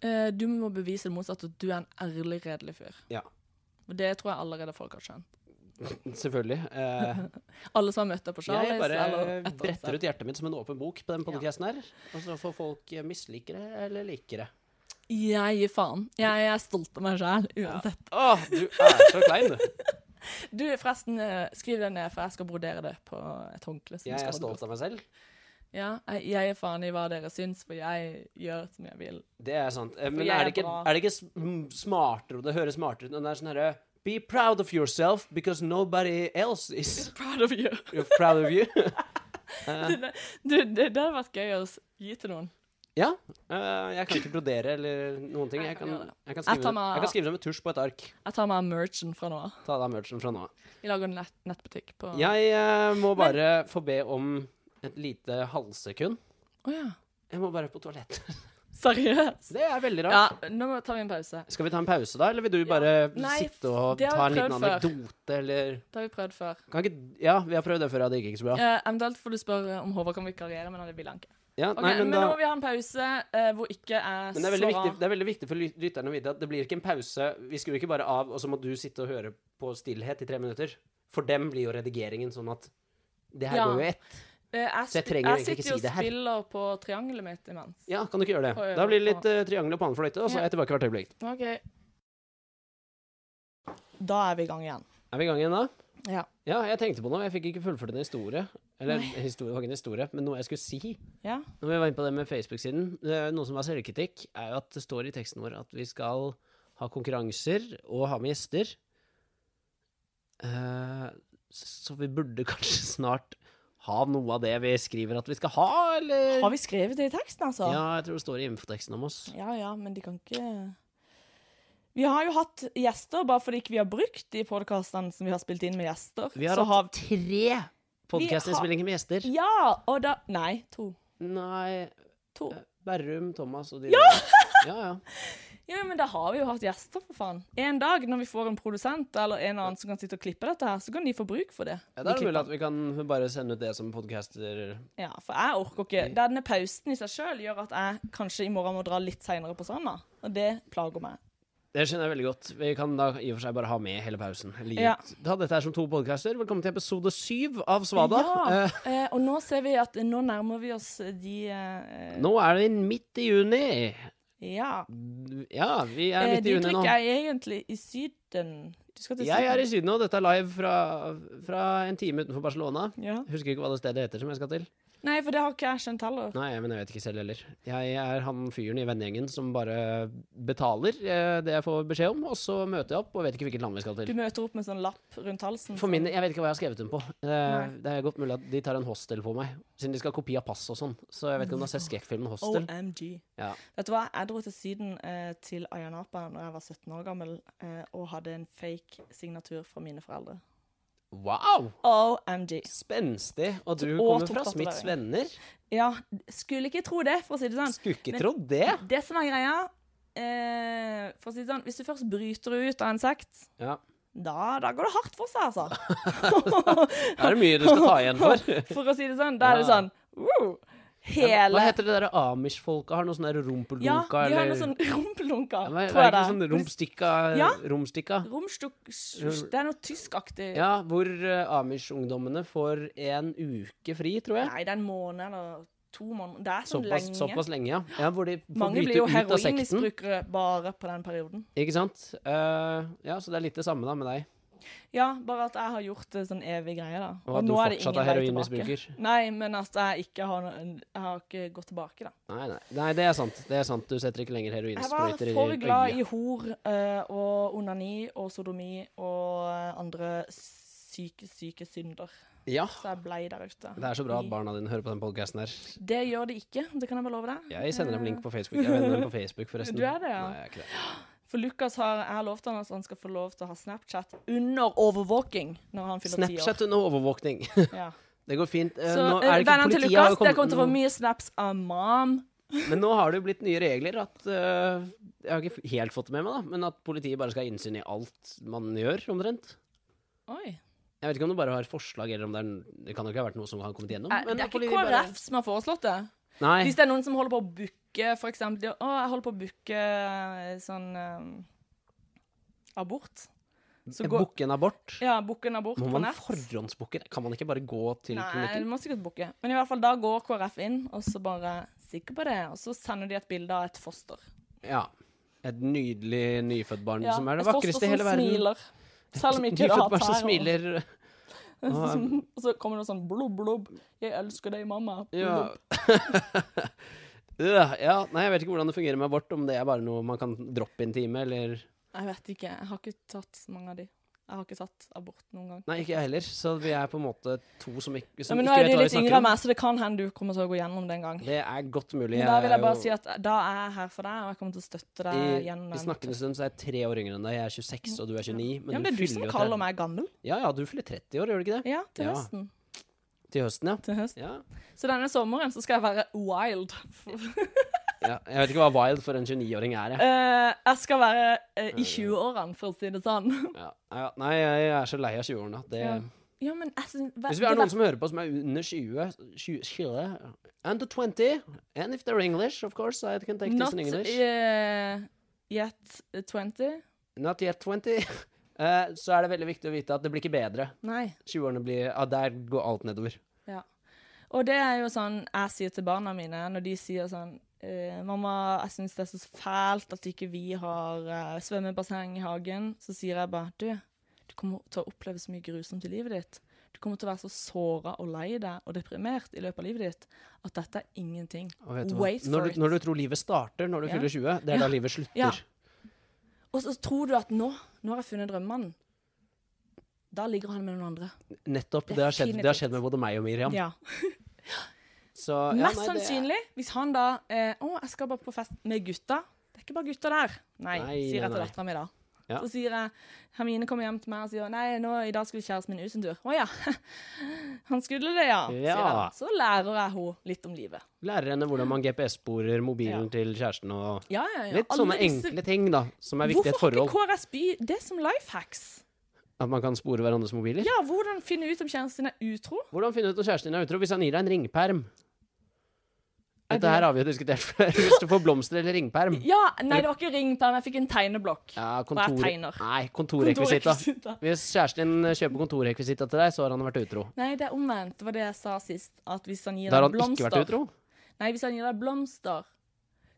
[SPEAKER 2] Eh, du må bevise det motsatte, at du er en ærlig, redelig fyr.
[SPEAKER 1] Ja.
[SPEAKER 2] Og det tror jeg allerede folk har skjønt.
[SPEAKER 1] Selvfølgelig. Eh,
[SPEAKER 2] [LAUGHS] Alle som har møtt deg på Charlies.
[SPEAKER 1] jeg bare
[SPEAKER 2] eller et eller annet
[SPEAKER 1] bretter ut hjertet mitt som en åpen bok på den podcasten her. Og så får folk eh, mislike det eller like det.
[SPEAKER 2] sted. Jeg gir faen. Jeg er stolt av meg sjæl, uansett.
[SPEAKER 1] Å, du er så klein, du.
[SPEAKER 2] Du, forresten, eh, skriv det ned, for jeg skal brodere det på et håndkle. som
[SPEAKER 1] Jeg
[SPEAKER 2] skal
[SPEAKER 1] er
[SPEAKER 2] på
[SPEAKER 1] stolt av meg selv.
[SPEAKER 2] Ja, jeg, jeg er faen i hva dere syns, for jeg gjør som jeg [LAUGHS] vil.
[SPEAKER 1] Det er sant. Eh, Men
[SPEAKER 2] jeg
[SPEAKER 1] er
[SPEAKER 2] er
[SPEAKER 1] det ikke,
[SPEAKER 2] bra.
[SPEAKER 1] er det ikke s- mm, smartere, og det høres smartere ut, enn det er sånn herre Be proud of yourself because nobody else is
[SPEAKER 2] Proud of you.
[SPEAKER 1] proud of you. [LAUGHS] Eh,
[SPEAKER 2] Du, [LAUGHS] det det hadde vært gøy å s- gi til noen.
[SPEAKER 1] ja. eh, jeg kan ikke brodere eller noen ting. Jeg kan, jeg kan,
[SPEAKER 2] Jeg tar
[SPEAKER 1] skrive,
[SPEAKER 2] meg-
[SPEAKER 1] jeg kan skrive det med tusj på et ark.
[SPEAKER 2] Jeg tar meg merchen fra nå av.
[SPEAKER 1] Ta deg av merchen fra nå av.
[SPEAKER 2] Vi lager en nett, nettbutikk på Å
[SPEAKER 1] Jeg eh, må bare få be om et lite halvsekund.
[SPEAKER 2] ja.
[SPEAKER 1] Jeg må bare på toalettet. [LAUGHS]
[SPEAKER 2] Seriøst?
[SPEAKER 1] Det er veldig rart.
[SPEAKER 2] Ja, nå må- tar vi en pause.
[SPEAKER 1] Skal vi ta en pause, da? Eller vil du bare
[SPEAKER 2] Nei,
[SPEAKER 1] sitte og
[SPEAKER 2] det har
[SPEAKER 1] ta en
[SPEAKER 2] vi
[SPEAKER 1] liten
[SPEAKER 2] prøvd før.
[SPEAKER 1] anekdote, eller
[SPEAKER 2] Det har vi prøvd før.
[SPEAKER 1] kan ikke, Ja, vi har prøvd det før, ja. Det gikk ikke så bra.
[SPEAKER 2] Eh, Eventuelt får du spørre om Håvard kan vikariere, men det vil han ikke.
[SPEAKER 1] Ja,
[SPEAKER 2] Ok,
[SPEAKER 1] nei,
[SPEAKER 2] men,
[SPEAKER 1] men, da,
[SPEAKER 2] nå må vi ha en pause eh, hvor ikke
[SPEAKER 1] men
[SPEAKER 2] jeg
[SPEAKER 1] det, er veldig viktig, det er veldig viktig for lyt- lytterne å vite at det blir ikke en pause. Vi skrur ikke bare av, og så må du sitte og høre på stillhet i tre minutter. For dem blir jo redigeringen sånn at det her
[SPEAKER 2] Ja.
[SPEAKER 1] går jo i ett.
[SPEAKER 2] Eh, jeg,
[SPEAKER 1] Så jeg
[SPEAKER 2] spi-
[SPEAKER 1] trenger egentlig ikke
[SPEAKER 2] sitter jo
[SPEAKER 1] si det her.
[SPEAKER 2] og spiller på triangelet mitt imens.
[SPEAKER 1] Ja, kan du ikke gjøre det?
[SPEAKER 2] Får jeg
[SPEAKER 1] Da blir det
[SPEAKER 2] øve
[SPEAKER 1] litt uh, triangel og panefløyte, og så
[SPEAKER 2] Ja.
[SPEAKER 1] er jeg tilbake hvert øyeblikk.
[SPEAKER 2] Ok. Da er vi i gang igjen.
[SPEAKER 1] Er vi i gang igjen da?
[SPEAKER 2] Ja.
[SPEAKER 1] Ja, jeg tenkte på noe. Jeg fikk ikke fullført en historie. Eller
[SPEAKER 2] Nei.
[SPEAKER 1] historie, det var ikke en historie, men noe jeg skulle si.
[SPEAKER 2] Ja.
[SPEAKER 1] Når vi var inne på det med Facebook-siden, eh, noe som er selvkritikk, er jo at det står i teksten vår at vi skal ha konkurranser og ha med gjester. Eh, Så vi burde [LAUGHS] kanskje snart ha noe av det vi skriver at vi skal ha, eller?
[SPEAKER 2] Har vi skrevet det i teksten, altså?
[SPEAKER 1] Ja, jeg tror det står i infoteksten om oss.
[SPEAKER 2] ja, ja, men de kan ikke Vi har jo hatt gjester bare fordi ikke vi har brukt de podkastene som vi har spilt inn med gjester.
[SPEAKER 1] Vi har
[SPEAKER 2] Så
[SPEAKER 1] hatt tre podcastinnspillinger med gjester.
[SPEAKER 2] Ja! Og da Nei, to.
[SPEAKER 1] Nei,
[SPEAKER 2] To.
[SPEAKER 1] Berrum, Thomas og de Ja! Ja, ja.
[SPEAKER 2] Ja, men da har vi jo hatt gjester, for faen. En dag, når vi får en produsent eller en annen som kan sitte og klippe dette her, så kan de få bruk for det.
[SPEAKER 1] Ja, Da er
[SPEAKER 2] De
[SPEAKER 1] det mulig
[SPEAKER 2] klipper.
[SPEAKER 1] at vi kan bare sende ut det som podcaster
[SPEAKER 2] Ja, for jeg orker ikke.
[SPEAKER 1] Mm.
[SPEAKER 2] Denne pausen i seg sjøl gjør at jeg kanskje i morgen må dra litt seinere på stranda, og det plager meg.
[SPEAKER 1] Det skjønner jeg veldig godt. Vi kan da i og for seg bare ha med hele pausen. Litt.
[SPEAKER 2] Ja.
[SPEAKER 1] Da, dette er som to podcaster. Velkommen til episode syv av Svada.
[SPEAKER 2] Ja,
[SPEAKER 1] Eh,
[SPEAKER 2] eh, og nå ser vi at nå nærmer vi oss de eh,
[SPEAKER 1] nå er det midt i juni.
[SPEAKER 2] Ja.
[SPEAKER 1] Ja, vi er
[SPEAKER 2] Eh,
[SPEAKER 1] midt i
[SPEAKER 2] de
[SPEAKER 1] juni nå.
[SPEAKER 2] trykker jeg egentlig i Syden. Du skal til
[SPEAKER 1] Jeg er
[SPEAKER 2] Syden?
[SPEAKER 1] i Syden nå. Dette er live fra, fra en time utenfor Barcelona.
[SPEAKER 2] Ja.
[SPEAKER 1] Husker ikke hva det stedet heter som jeg skal til.
[SPEAKER 2] Nei, for det har ikke jeg skjønt heller.
[SPEAKER 1] Nei, men jeg vet ikke selv heller. Jeg er han fyren i vennegjengen som bare betaler eh, det jeg får beskjed om, og så møter jeg opp og vet ikke hvilket land vi skal til.
[SPEAKER 2] Du møter opp med sånn lapp rundt halsen.
[SPEAKER 1] For
[SPEAKER 2] sånn.
[SPEAKER 1] min, Jeg vet ikke hva jeg har skrevet dem på. Eh,
[SPEAKER 2] Nei.
[SPEAKER 1] det er godt mulig at de tar en hostel på meg, siden de skal ha kopi av pass og sånn. Så jeg vet ikke om du har sett skrekkfilmen Hostel?
[SPEAKER 2] OMG.
[SPEAKER 1] Ja.
[SPEAKER 2] Vet du hva, jeg dro til Syden eh, til Ayanapa da jeg var 17 år gammel, eh, og hadde en fake signatur fra mine foreldre.
[SPEAKER 1] Wow!
[SPEAKER 2] OMG.
[SPEAKER 1] Spenstig. Og du
[SPEAKER 2] Og
[SPEAKER 1] kommer
[SPEAKER 2] tok
[SPEAKER 1] fra Smiths venner.
[SPEAKER 2] Ja, skulle ikke tro det, for å si det sånn.
[SPEAKER 1] Skulle ikke
[SPEAKER 2] Men-
[SPEAKER 1] trodd det.
[SPEAKER 2] Det som er greia eh, For å si det sånn, hvis du først bryter ut av en sekt,
[SPEAKER 1] Ja.
[SPEAKER 2] da, da går det hardt for seg, altså.
[SPEAKER 1] Er det mye du skal ta igjen [LAUGHS] for?
[SPEAKER 2] for å si det sånn. Da er det sånn woo,
[SPEAKER 1] Hva
[SPEAKER 2] Hele
[SPEAKER 1] heter det derre amish-folka? Har noe sånn der
[SPEAKER 2] Ja,
[SPEAKER 1] rumpelunka
[SPEAKER 2] de har
[SPEAKER 1] eller
[SPEAKER 2] noe sånn rumpelunka,
[SPEAKER 1] ja, men, Er
[SPEAKER 2] tror
[SPEAKER 1] det
[SPEAKER 2] jeg det
[SPEAKER 1] ikke sånn romstikka?
[SPEAKER 2] Ja.
[SPEAKER 1] romstikka?
[SPEAKER 2] Romstuk... Det er noe tyskaktig.
[SPEAKER 1] Ja, hvor eh, amish-ungdommene får en uke fri, tror jeg.
[SPEAKER 2] Nei, det er en måned eller to måneder. Det er sånn
[SPEAKER 1] Såpass,
[SPEAKER 2] lenge.
[SPEAKER 1] såpass lenge, ja. ja. Hvor de får
[SPEAKER 2] Mange blir
[SPEAKER 1] bryte
[SPEAKER 2] jo
[SPEAKER 1] ut av sekten.
[SPEAKER 2] heroinmisbrukere bare på den perioden.
[SPEAKER 1] Ikke sant? Eh, ja, så det er litt det samme da med deg.
[SPEAKER 2] Ja, bare at jeg har gjort det sånn evig greie, da.
[SPEAKER 1] Og at du fortsatt er heroinmisbruker.
[SPEAKER 2] Nei, men at jeg ikke har, noe, jeg har ikke gått tilbake, da.
[SPEAKER 1] Nei, nei, nei, det er sant. Det er sant. Du setter ikke lenger
[SPEAKER 2] Jeg var
[SPEAKER 1] heroinsprøyter i
[SPEAKER 2] for glad
[SPEAKER 1] øyet.
[SPEAKER 2] i hor eh, og onani og sodomi og eh, andre syke, syke synder.
[SPEAKER 1] Ja.
[SPEAKER 2] Så jeg blei der ute.
[SPEAKER 1] Det er så bra at barna dine hører på den podcasten her.
[SPEAKER 2] Det gjør det ikke, det kan jeg bare love deg.
[SPEAKER 1] Jeg sender dem link på Facebook. Jeg vender dem på Facebook, forresten.
[SPEAKER 2] Du er det, ja.
[SPEAKER 1] Nei, jeg er ikke det.
[SPEAKER 2] For Lukas har, jeg har lovt han at han skal få lov til å ha Snapchat under overvåking når han fyller ti år.
[SPEAKER 1] Snapchat under overvåkning. [LAUGHS]
[SPEAKER 2] Ja.
[SPEAKER 1] Det går fint. Eh,
[SPEAKER 2] Så
[SPEAKER 1] nå
[SPEAKER 2] eh,
[SPEAKER 1] er det ikke
[SPEAKER 2] vennene til
[SPEAKER 1] politiet
[SPEAKER 2] Lukas,
[SPEAKER 1] har
[SPEAKER 2] dere kommer til å få
[SPEAKER 1] kommet
[SPEAKER 2] mye snaps av mam.
[SPEAKER 1] Men nå har det jo blitt nye regler at eh, Jeg har ikke helt fått det med meg, da, men at politiet bare skal ha innsyn i alt man gjør, omtrent.
[SPEAKER 2] Oi.
[SPEAKER 1] Jeg vet ikke om det bare har forslag, eller om det er Det kan jo ikke ha vært noe som har kommet igjennom.
[SPEAKER 2] Eh,
[SPEAKER 1] men
[SPEAKER 2] Det er ikke
[SPEAKER 1] politiet
[SPEAKER 2] KrF
[SPEAKER 1] bare-
[SPEAKER 2] som har foreslått det.
[SPEAKER 1] Nei.
[SPEAKER 2] Hvis det er noen som holder på å booke, for eksempel de, Å, jeg holder på å booke eh, sånn eh, abort. Så
[SPEAKER 1] Eh,
[SPEAKER 2] gå-
[SPEAKER 1] Booke en abort?
[SPEAKER 2] Ja, booke en abort
[SPEAKER 1] Må
[SPEAKER 2] på
[SPEAKER 1] man
[SPEAKER 2] nett.
[SPEAKER 1] forhåndsbooke? det? Kan man ikke bare gå til
[SPEAKER 2] Nei, du
[SPEAKER 1] klinikken?
[SPEAKER 2] må sikkert booke. Men i hvert fall da går KrF inn, og så bare Sikker på det. Og så sender de et bilde av et foster.
[SPEAKER 1] Ja. Et nydelig nyfødt barn
[SPEAKER 2] Ja,
[SPEAKER 1] som er det
[SPEAKER 2] et foster
[SPEAKER 1] vakreste i hele
[SPEAKER 2] som
[SPEAKER 1] verden. [LAUGHS]
[SPEAKER 2] smiler. Selv om ikke det
[SPEAKER 1] Nyfødt
[SPEAKER 2] har [LAUGHS]
[SPEAKER 1] barn som
[SPEAKER 2] tær. og-
[SPEAKER 1] smiler.
[SPEAKER 2] Sånn, og så kommer det sånn blubb, blubb. 'Jeg elsker deg, mamma'.
[SPEAKER 1] Ja. [LAUGHS]
[SPEAKER 2] Blubb.
[SPEAKER 1] ja, ja. Nei, jeg vet ikke hvordan det fungerer med abort, om det er bare noe man kan droppe i en time, eller
[SPEAKER 2] Jeg vet ikke. Jeg har ikke tatt mange av de. Jeg har ikke tatt abort noen gang.
[SPEAKER 1] Nei, ikke jeg heller, så vi er på en måte to som ikke,
[SPEAKER 2] Ja,
[SPEAKER 1] som
[SPEAKER 2] men nå
[SPEAKER 1] ikke
[SPEAKER 2] er
[SPEAKER 1] vet
[SPEAKER 2] de
[SPEAKER 1] hva vi
[SPEAKER 2] litt yngre
[SPEAKER 1] snakker
[SPEAKER 2] enn
[SPEAKER 1] om.
[SPEAKER 2] meg, så det kan hende du kommer til å gå gjennom det en gang.
[SPEAKER 1] Det er godt mulig.
[SPEAKER 2] Men da vil jeg
[SPEAKER 1] er
[SPEAKER 2] bare
[SPEAKER 1] jo-
[SPEAKER 2] si at da er jeg her for deg, og jeg kommer til å støtte deg
[SPEAKER 1] I, liksom
[SPEAKER 2] gjennom
[SPEAKER 1] I snakkende stund så er jeg tre år yngre enn deg. Jeg er 26, og du er 29. Men,
[SPEAKER 2] ja, men det
[SPEAKER 1] du
[SPEAKER 2] er du
[SPEAKER 1] fyller
[SPEAKER 2] som
[SPEAKER 1] jo
[SPEAKER 2] kaller
[SPEAKER 1] 30.
[SPEAKER 2] meg gammel.
[SPEAKER 1] Ja, ja, du fyller 30 år, gjør du ikke det?
[SPEAKER 2] Ja, til
[SPEAKER 1] Ja.
[SPEAKER 2] høsten.
[SPEAKER 1] Til høsten, ja.
[SPEAKER 2] Til høsten.
[SPEAKER 1] ja.
[SPEAKER 2] Så denne sommeren så skal jeg være
[SPEAKER 1] [LAUGHS]
[SPEAKER 2] wild.
[SPEAKER 1] ja. Jeg vet ikke hva wild for en 29-åring er, jeg.
[SPEAKER 2] Eh, jeg skal være eh, i 20-årene, for å si det sånn. [LAUGHS]
[SPEAKER 1] Ja. Ja. Nei, jeg er så lei av 20-årene. Det...
[SPEAKER 2] Ja. Ja, men jeg syns
[SPEAKER 1] Hvis vi har noen som hører på som er under 20, 20, 20 Under 20 And if they're English, of course, I can take this
[SPEAKER 2] Not
[SPEAKER 1] in English.
[SPEAKER 2] eh, yet 20.
[SPEAKER 1] Not yet 20. [LAUGHS] Eh, så er det veldig viktig å vite at det blir ikke bedre.
[SPEAKER 2] Nei.
[SPEAKER 1] 20-årene blir ja, Der går alt nedover.
[SPEAKER 2] Ja. Og det er jo sånn jeg sier til barna mine når de sier sånn eh, 'Mamma, jeg syns det er så fælt at ikke vi har eh, svømmebasseng i hagen.' Så sier jeg bare 'Du, du kommer til å oppleve så mye grusomt i livet ditt.' 'Du kommer til å være så såra og lei deg og deprimert i løpet av livet ditt at dette er ingenting.'
[SPEAKER 1] Og vet du hva?
[SPEAKER 2] Wait for
[SPEAKER 1] når,
[SPEAKER 2] it.
[SPEAKER 1] du, når du tror livet starter når du
[SPEAKER 2] Ja.
[SPEAKER 1] fyller 20, det er da livet slutter.
[SPEAKER 2] Ja. Og så tror du at nå, nå har jeg funnet drømmemannen. Da ligger han med noen andre.
[SPEAKER 1] Nettopp. Det har, skjedd, det har
[SPEAKER 2] Definitivt.
[SPEAKER 1] skjedd med både meg og Miriam.
[SPEAKER 2] Ja.
[SPEAKER 1] Så, ja, nei, det
[SPEAKER 2] Mest
[SPEAKER 1] er-
[SPEAKER 2] sannsynlig, hvis han da eh, 'Å, jeg skal bare på fest med gutta.' Det er ikke bare gutta der. Nei,
[SPEAKER 1] Nei,
[SPEAKER 2] sier jeg
[SPEAKER 1] nei,
[SPEAKER 2] til
[SPEAKER 1] nei.
[SPEAKER 2] dattera mi da.
[SPEAKER 1] Ja.
[SPEAKER 2] Så sier jeg Hermine kommer hjem til meg og sier 'Nei, nå, i dag skulle kjæresten min ut en tur'. 'Å ja. [LAUGHS] Han skulle det, ja'. sier
[SPEAKER 1] Ja.
[SPEAKER 2] jeg. Så lærer jeg henne litt om livet.
[SPEAKER 1] Lærer henne hvordan man GPS-sporer mobilen til kjæresten og
[SPEAKER 2] Ja, ja, ja.
[SPEAKER 1] Litt
[SPEAKER 2] Alle
[SPEAKER 1] sånne
[SPEAKER 2] disse-
[SPEAKER 1] enkle ting, da, som er viktig i et
[SPEAKER 2] Hvorfor har
[SPEAKER 1] forhold.
[SPEAKER 2] ikke KRSB det som life hacks?
[SPEAKER 1] At man kan spore hverandres mobiler.
[SPEAKER 2] Ja, hvordan finne ut om kjæresten din er utro?
[SPEAKER 1] Hvordan finne ut om kjæresten din er utro hvis han gir deg en ringperm?
[SPEAKER 2] Er
[SPEAKER 1] Dette her har vi jo diskutert [LAUGHS] før. Hvis du får blomster eller ringperm.
[SPEAKER 2] Ja, nei, det var ikke ringperm, jeg fikk en tegneblokk.
[SPEAKER 1] Ja,
[SPEAKER 2] Hva er
[SPEAKER 1] kontor...
[SPEAKER 2] tegner?
[SPEAKER 1] Nei, kontorrekvisita.
[SPEAKER 2] Kontorrekvisita.
[SPEAKER 1] Hvis kjæresten din kjøper kontorrekvisita til deg, så har han vært utro.
[SPEAKER 2] Nei, det er omvendt. Det var det jeg sa sist. At hvis han gir
[SPEAKER 1] Da har
[SPEAKER 2] deg
[SPEAKER 1] han ikke vært
[SPEAKER 2] blomster
[SPEAKER 1] utro.
[SPEAKER 2] Nei, hvis han gir deg blomster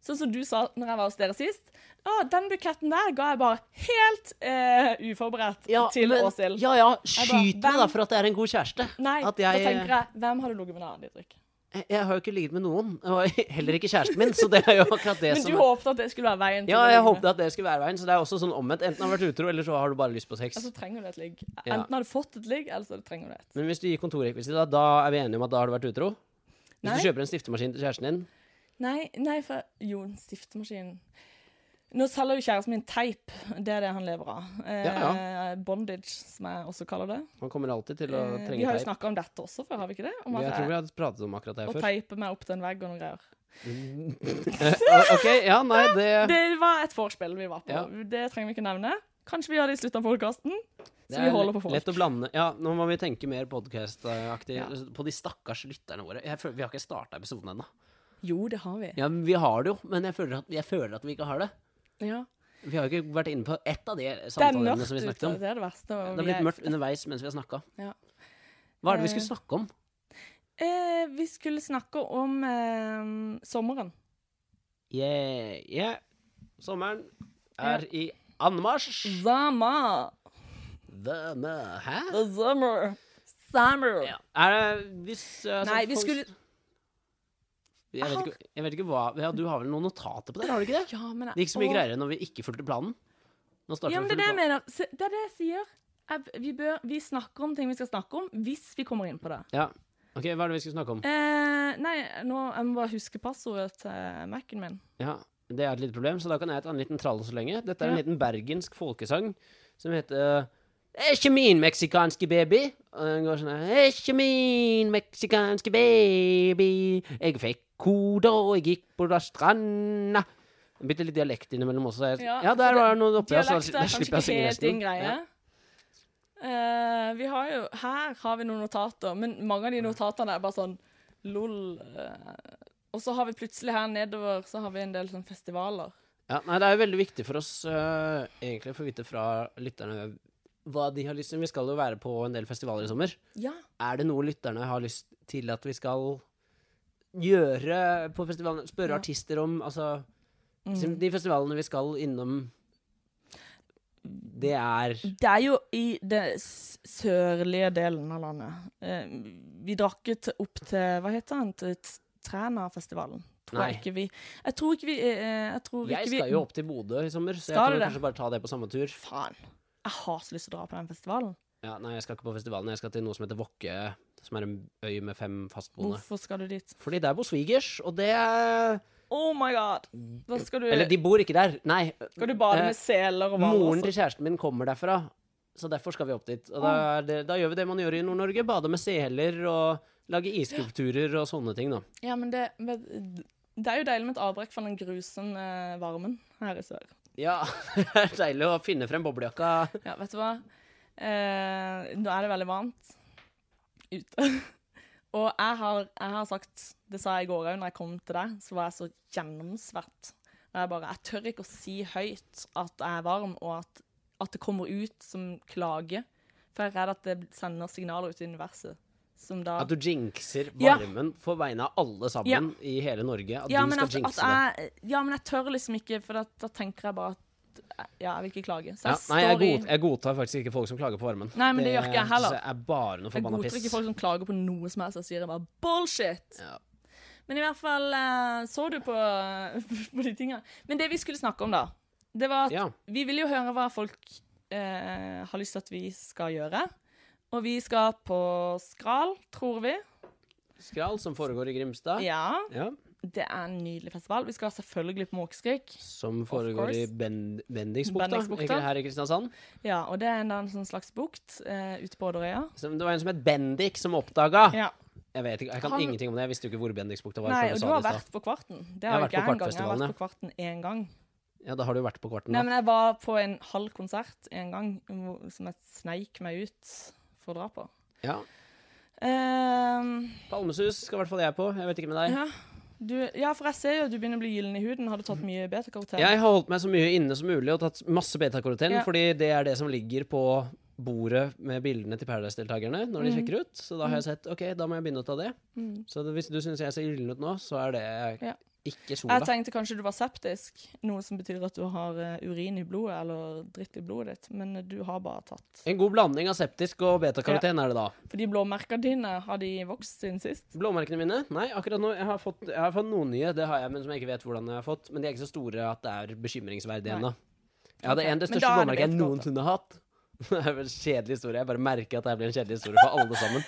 [SPEAKER 2] Sånn som du sa når jeg var hos dere sist. Å, den buketten der ga jeg bare helt eh, uforberedt til Åshild.
[SPEAKER 1] ja, ja,
[SPEAKER 2] Jeg
[SPEAKER 1] skyt
[SPEAKER 2] bare,
[SPEAKER 1] meg da
[SPEAKER 2] hvem-
[SPEAKER 1] for at jeg er en god kjæreste.
[SPEAKER 2] Nei,
[SPEAKER 1] At
[SPEAKER 2] da
[SPEAKER 1] jeg, eh,
[SPEAKER 2] tenker jeg Hvem har du ligget med da, Didrik?
[SPEAKER 1] jeg, jeg har jo ikke ligget med noen, og [LAUGHS] heller ikke kjæresten min, så det er jo akkurat det
[SPEAKER 2] Men du
[SPEAKER 1] som
[SPEAKER 2] håpet at det skulle være veien til
[SPEAKER 1] Ja,
[SPEAKER 2] å
[SPEAKER 1] jeg
[SPEAKER 2] ligge med.
[SPEAKER 1] håpet at det skulle være veien, så det er også sånn omvendt. Enten har du vært utro, eller så har du bare lyst på sex.
[SPEAKER 2] Ja, så Altså, trenger du et ligg.
[SPEAKER 1] Ja.
[SPEAKER 2] Enten har du fått et ligg, eller så trenger du et.
[SPEAKER 1] Men hvis du gir kontorrekvisita, da er vi enige om at da har du vært utro? Hvis
[SPEAKER 2] Nei.
[SPEAKER 1] du kjøper en stiftemaskin til kjæresten din
[SPEAKER 2] Nei, nei, for Jo, en stiftemaskin Nå selger jo kjæresten min teip. Det er det han lever av. Eh,
[SPEAKER 1] Ja,
[SPEAKER 2] Bondage, som jeg også kaller det.
[SPEAKER 1] Han kommer alltid til å
[SPEAKER 2] Eh, Vi
[SPEAKER 1] trenge
[SPEAKER 2] har jo
[SPEAKER 1] teip.
[SPEAKER 2] snakka om dette også før, har vi ikke det? Om at
[SPEAKER 1] Jeg tror
[SPEAKER 2] jeg,
[SPEAKER 1] vi hadde pratet om akkurat det
[SPEAKER 2] å
[SPEAKER 1] før.
[SPEAKER 2] teipe meg opp til en vegg og noen greier.
[SPEAKER 1] Eh, OK, ja, nei, det,
[SPEAKER 2] [LAUGHS] Det var et vorspiel vi var på.
[SPEAKER 1] Ja.
[SPEAKER 2] Det trenger vi ikke nevne. Kanskje vi gjør det i slutten av podkasten?
[SPEAKER 1] det
[SPEAKER 2] Så vi holder på folk.
[SPEAKER 1] lett å blande Ja, nå må vi tenke mer podkast-aktig
[SPEAKER 2] Ja.
[SPEAKER 1] på de stakkars lytterne våre. Jeg føler, vi har ikke starta episoden ennå.
[SPEAKER 2] Jo, det har vi.
[SPEAKER 1] Ja, men vi har det jo, men jeg føler, at, jeg føler at vi ikke har det.
[SPEAKER 2] Ja.
[SPEAKER 1] Vi har jo ikke vært inne på ett av de
[SPEAKER 2] Det er
[SPEAKER 1] samtaleemnene
[SPEAKER 2] mørkt
[SPEAKER 1] som vi
[SPEAKER 2] ute.
[SPEAKER 1] snakket om.
[SPEAKER 2] Det er det verste. og
[SPEAKER 1] Det har
[SPEAKER 2] vi
[SPEAKER 1] blitt
[SPEAKER 2] er-
[SPEAKER 1] mørkt underveis mens vi har snakka.
[SPEAKER 2] Ja.
[SPEAKER 1] Hva er det vi
[SPEAKER 2] Eh.
[SPEAKER 1] skulle snakke om?
[SPEAKER 2] Eh, vi skulle snakke om eh, sommeren.
[SPEAKER 1] Yeah, yeah. Sommeren er i anmarsj.
[SPEAKER 2] Zama.
[SPEAKER 1] Denne, hæ?
[SPEAKER 2] The summer. Summer.
[SPEAKER 1] Ja. Er det hvis altså,
[SPEAKER 2] Nei, vi
[SPEAKER 1] folk-
[SPEAKER 2] skulle
[SPEAKER 1] jeg vet, ikke, jeg vet ikke hva ja, Du har vel noen notater på det, har du ikke det?
[SPEAKER 2] Ja, men jeg-
[SPEAKER 1] Det gikk så mye
[SPEAKER 2] Åh.
[SPEAKER 1] greiere når vi ikke fulgte planen. Nå starter
[SPEAKER 2] Ja, men
[SPEAKER 1] vi
[SPEAKER 2] det er det jeg
[SPEAKER 1] fullt
[SPEAKER 2] mener. Se, Det er det jeg sier. Jeg, vi, bør, vi snakker om ting vi skal snakke om, hvis vi kommer inn på det.
[SPEAKER 1] Ja. Ok, hva er det vi skal snakke om?
[SPEAKER 2] Eh, nei, nå, jeg må bare huske passordet til Mac-en min.
[SPEAKER 1] Ja, Det er et lite problem, så da kan jeg ta en liten tralle så lenge. Dette er en
[SPEAKER 2] Ja.
[SPEAKER 1] liten bergensk folkesang som heter Det er ikke min meksikanske baby. Og den går sånn her «Det er Ikke min meksikanske baby. Jeg fikk koder, og jeg gikk på da stranda. Bitte litt dialekt innimellom også. Jeg, ja,
[SPEAKER 2] Ja,
[SPEAKER 1] der
[SPEAKER 2] for
[SPEAKER 1] var det noe oppi. ja, så
[SPEAKER 2] Dialekt
[SPEAKER 1] da
[SPEAKER 2] er kanskje
[SPEAKER 1] slipper jeg å
[SPEAKER 2] ikke
[SPEAKER 1] synge
[SPEAKER 2] helt din
[SPEAKER 1] resten.
[SPEAKER 2] greie.
[SPEAKER 1] Ja.
[SPEAKER 2] Eh, vi har jo, her har vi noen notater, men mange av de notatene er bare sånn lol. eh. og så har vi plutselig her nedover så har vi en del sånn festivaler.
[SPEAKER 1] Ja, nei, det er jo veldig viktig for oss eh, egentlig å få vite fra lytterne hva de har lyst til. Vi skal jo være på en del festivaler i sommer.
[SPEAKER 2] Ja.
[SPEAKER 1] Er det noe lytterne har lyst til at vi skal gjøre på festivalen? Spørre liksom,
[SPEAKER 2] Ja. Mm.
[SPEAKER 1] artister om altså, De festivalene vi skal innom Det er
[SPEAKER 2] Det er jo i den s- sørlige delen av landet. Eh, vi drakk jo til- opp til Hva heter den? Til T- Trænafestivalen. Tror
[SPEAKER 1] Nei.
[SPEAKER 2] jeg ikke vi Jeg tror ikke vi eh, Jeg tror
[SPEAKER 1] Jeg
[SPEAKER 2] ikke vi
[SPEAKER 1] skal jo opp til Bodø i sommer, så jeg
[SPEAKER 2] Skal
[SPEAKER 1] kan jo
[SPEAKER 2] du det?
[SPEAKER 1] kanskje bare ta det på samme tur.
[SPEAKER 2] Faen. Jeg har så lyst til å dra på den festivalen.
[SPEAKER 1] Ja, nei, jeg skal ikke på festivalen. Jeg skal til noe som heter Vokke, som er en øy med fem fastboende.
[SPEAKER 2] Hvorfor skal du dit?
[SPEAKER 1] Fordi der bor svigers, og det er
[SPEAKER 2] Oh my god! Da skal du
[SPEAKER 1] Eller de bor ikke der, nei.
[SPEAKER 2] Skal du bade
[SPEAKER 1] eh,
[SPEAKER 2] med seler og altså?
[SPEAKER 1] Moren
[SPEAKER 2] hvaler?
[SPEAKER 1] til kjæresten min kommer derfra, så derfor skal vi opp dit. Og da, er det, da gjør vi det man gjør i Nord-Norge. Bade med seler og lage isskulpturer og sånne ting, da.
[SPEAKER 2] Ja, men det, men det er jo deilig med et avbrekk fra den grusomme varmen her i sør.
[SPEAKER 1] Ja, [LAUGHS] det er deilig å finne frem boblejakka.
[SPEAKER 2] Ja, vet du hva? Eh, nå er det veldig varmt ute. [LAUGHS] Og jeg har, jeg har sagt, det sa jeg i går òg når jeg kom til deg, så var jeg så gjennomsvett. Og Jeg bare, jeg tør ikke å si høyt at jeg er varm, og at, at det kommer ut som klage. For jeg er redd at det sender signaler ut i universet. Som da
[SPEAKER 1] At du jinxer
[SPEAKER 2] Ja.
[SPEAKER 1] varmen på vegne av alle sammen
[SPEAKER 2] Ja.
[SPEAKER 1] i hele Norge. At
[SPEAKER 2] ja,
[SPEAKER 1] du
[SPEAKER 2] men altså,
[SPEAKER 1] skal
[SPEAKER 2] at, at
[SPEAKER 1] jinxe det.
[SPEAKER 2] jeg, ja, men jeg tør liksom ikke, for da, da tenker jeg bare at Ja, jeg vil ikke klage. Så
[SPEAKER 1] Ja,
[SPEAKER 2] jeg
[SPEAKER 1] nei, jeg,
[SPEAKER 2] står i
[SPEAKER 1] god, jeg godtar faktisk ikke folk som klager på varmen.
[SPEAKER 2] altså, Nei, men det gjør ikke jeg heller.
[SPEAKER 1] synes jeg er bare noe
[SPEAKER 2] Jeg
[SPEAKER 1] forbanna
[SPEAKER 2] godtar
[SPEAKER 1] piss.
[SPEAKER 2] ikke folk som klager på noe som helst. Jeg sier bare bullshit.
[SPEAKER 1] Ja.
[SPEAKER 2] Men i hvert fall eh, så du på, på [LAUGHS] de tinga. Men det vi skulle snakke om, da, det var at
[SPEAKER 1] Ja.
[SPEAKER 2] vi vil jo høre hva folk eh, har lyst til at vi skal gjøre. Og vi skal på Skral, tror vi.
[SPEAKER 1] Skral, som foregår i Grimstad. Ja.
[SPEAKER 2] Ja. Det er en nydelig festival. Vi skal selvfølgelig på Måkeskrik.
[SPEAKER 1] Som foregår i
[SPEAKER 2] course.
[SPEAKER 1] ben Bendiksbukta,
[SPEAKER 2] Bendiksbukta.
[SPEAKER 1] ikke her i Kristiansand.
[SPEAKER 2] Ja, og det er en, da en sånn slags bukt eh, ute på Odderøya.
[SPEAKER 1] Som, det var en som het Bendik, som oppdaga
[SPEAKER 2] Ja.
[SPEAKER 1] Jeg vet ikke, jeg kan
[SPEAKER 2] Han-
[SPEAKER 1] ingenting om det. Jeg visste jo ikke hvor Bendiksbukta var.
[SPEAKER 2] Nei,
[SPEAKER 1] før
[SPEAKER 2] og
[SPEAKER 1] du
[SPEAKER 2] du
[SPEAKER 1] sa
[SPEAKER 2] har
[SPEAKER 1] det i stad.
[SPEAKER 2] vært på Kvarten. Det
[SPEAKER 1] har
[SPEAKER 2] har jo
[SPEAKER 1] vært på
[SPEAKER 2] ikke jeg engang. Jeg har
[SPEAKER 1] Kvartfestivalen,
[SPEAKER 2] vært på Kvarten én gang.
[SPEAKER 1] Ja, da har du jo vært på kvarten.
[SPEAKER 2] Nei,
[SPEAKER 1] Da.
[SPEAKER 2] men jeg var på en halv konsert en gang hvor- som jeg sneik meg ut for å dra på.
[SPEAKER 1] Ja.
[SPEAKER 2] Ehm,
[SPEAKER 1] Palmesus skal i hvert fall jeg på. Jeg vet ikke med deg.
[SPEAKER 2] ja. Du, ja, for jeg ser jo at du begynner å bli gyllen i huden. Har du tatt mye beta-karoten?
[SPEAKER 1] Jeg har holdt meg så mye inne som mulig og tatt masse betakaroten,
[SPEAKER 2] Ja.
[SPEAKER 1] fordi det er det som ligger på bordet med bildene til Paradise-deltakerne når
[SPEAKER 2] Mhm.
[SPEAKER 1] de sjekker ut. Så da har jeg sett OK, da må jeg begynne å ta det.
[SPEAKER 2] Mm.
[SPEAKER 1] Så det, hvis du syns jeg ser gyllen ut nå, så er det
[SPEAKER 2] Ja.
[SPEAKER 1] ikke sola.
[SPEAKER 2] Jeg tenkte kanskje du var septisk, noe som betyr at du har eh, urin i blodet eller dritt i blodet ditt, men eh, du har bare tatt.
[SPEAKER 1] En god blanding av septisk og betakaroten er det da.
[SPEAKER 2] For de blåmerkene dine, har de vokst siden sist?
[SPEAKER 1] Blåmerkene mine? Nei, akkurat nå. Jeg har fått, jeg har fått noen nye, det har jeg, men som jeg ikke vet hvordan jeg har fått. Men de er ikke så store at det er bekymringsverdig
[SPEAKER 2] Nei.
[SPEAKER 1] ennå. Jeg hadde
[SPEAKER 2] Ok,
[SPEAKER 1] en det
[SPEAKER 2] men
[SPEAKER 1] største
[SPEAKER 2] da er det
[SPEAKER 1] blåmerket jeg
[SPEAKER 2] betakaroten.
[SPEAKER 1] noensinne har hatt. [LAUGHS] Det er vel en kjedelig historie. Jeg bare merker at det her blir en kjedelig historie for alle sammen.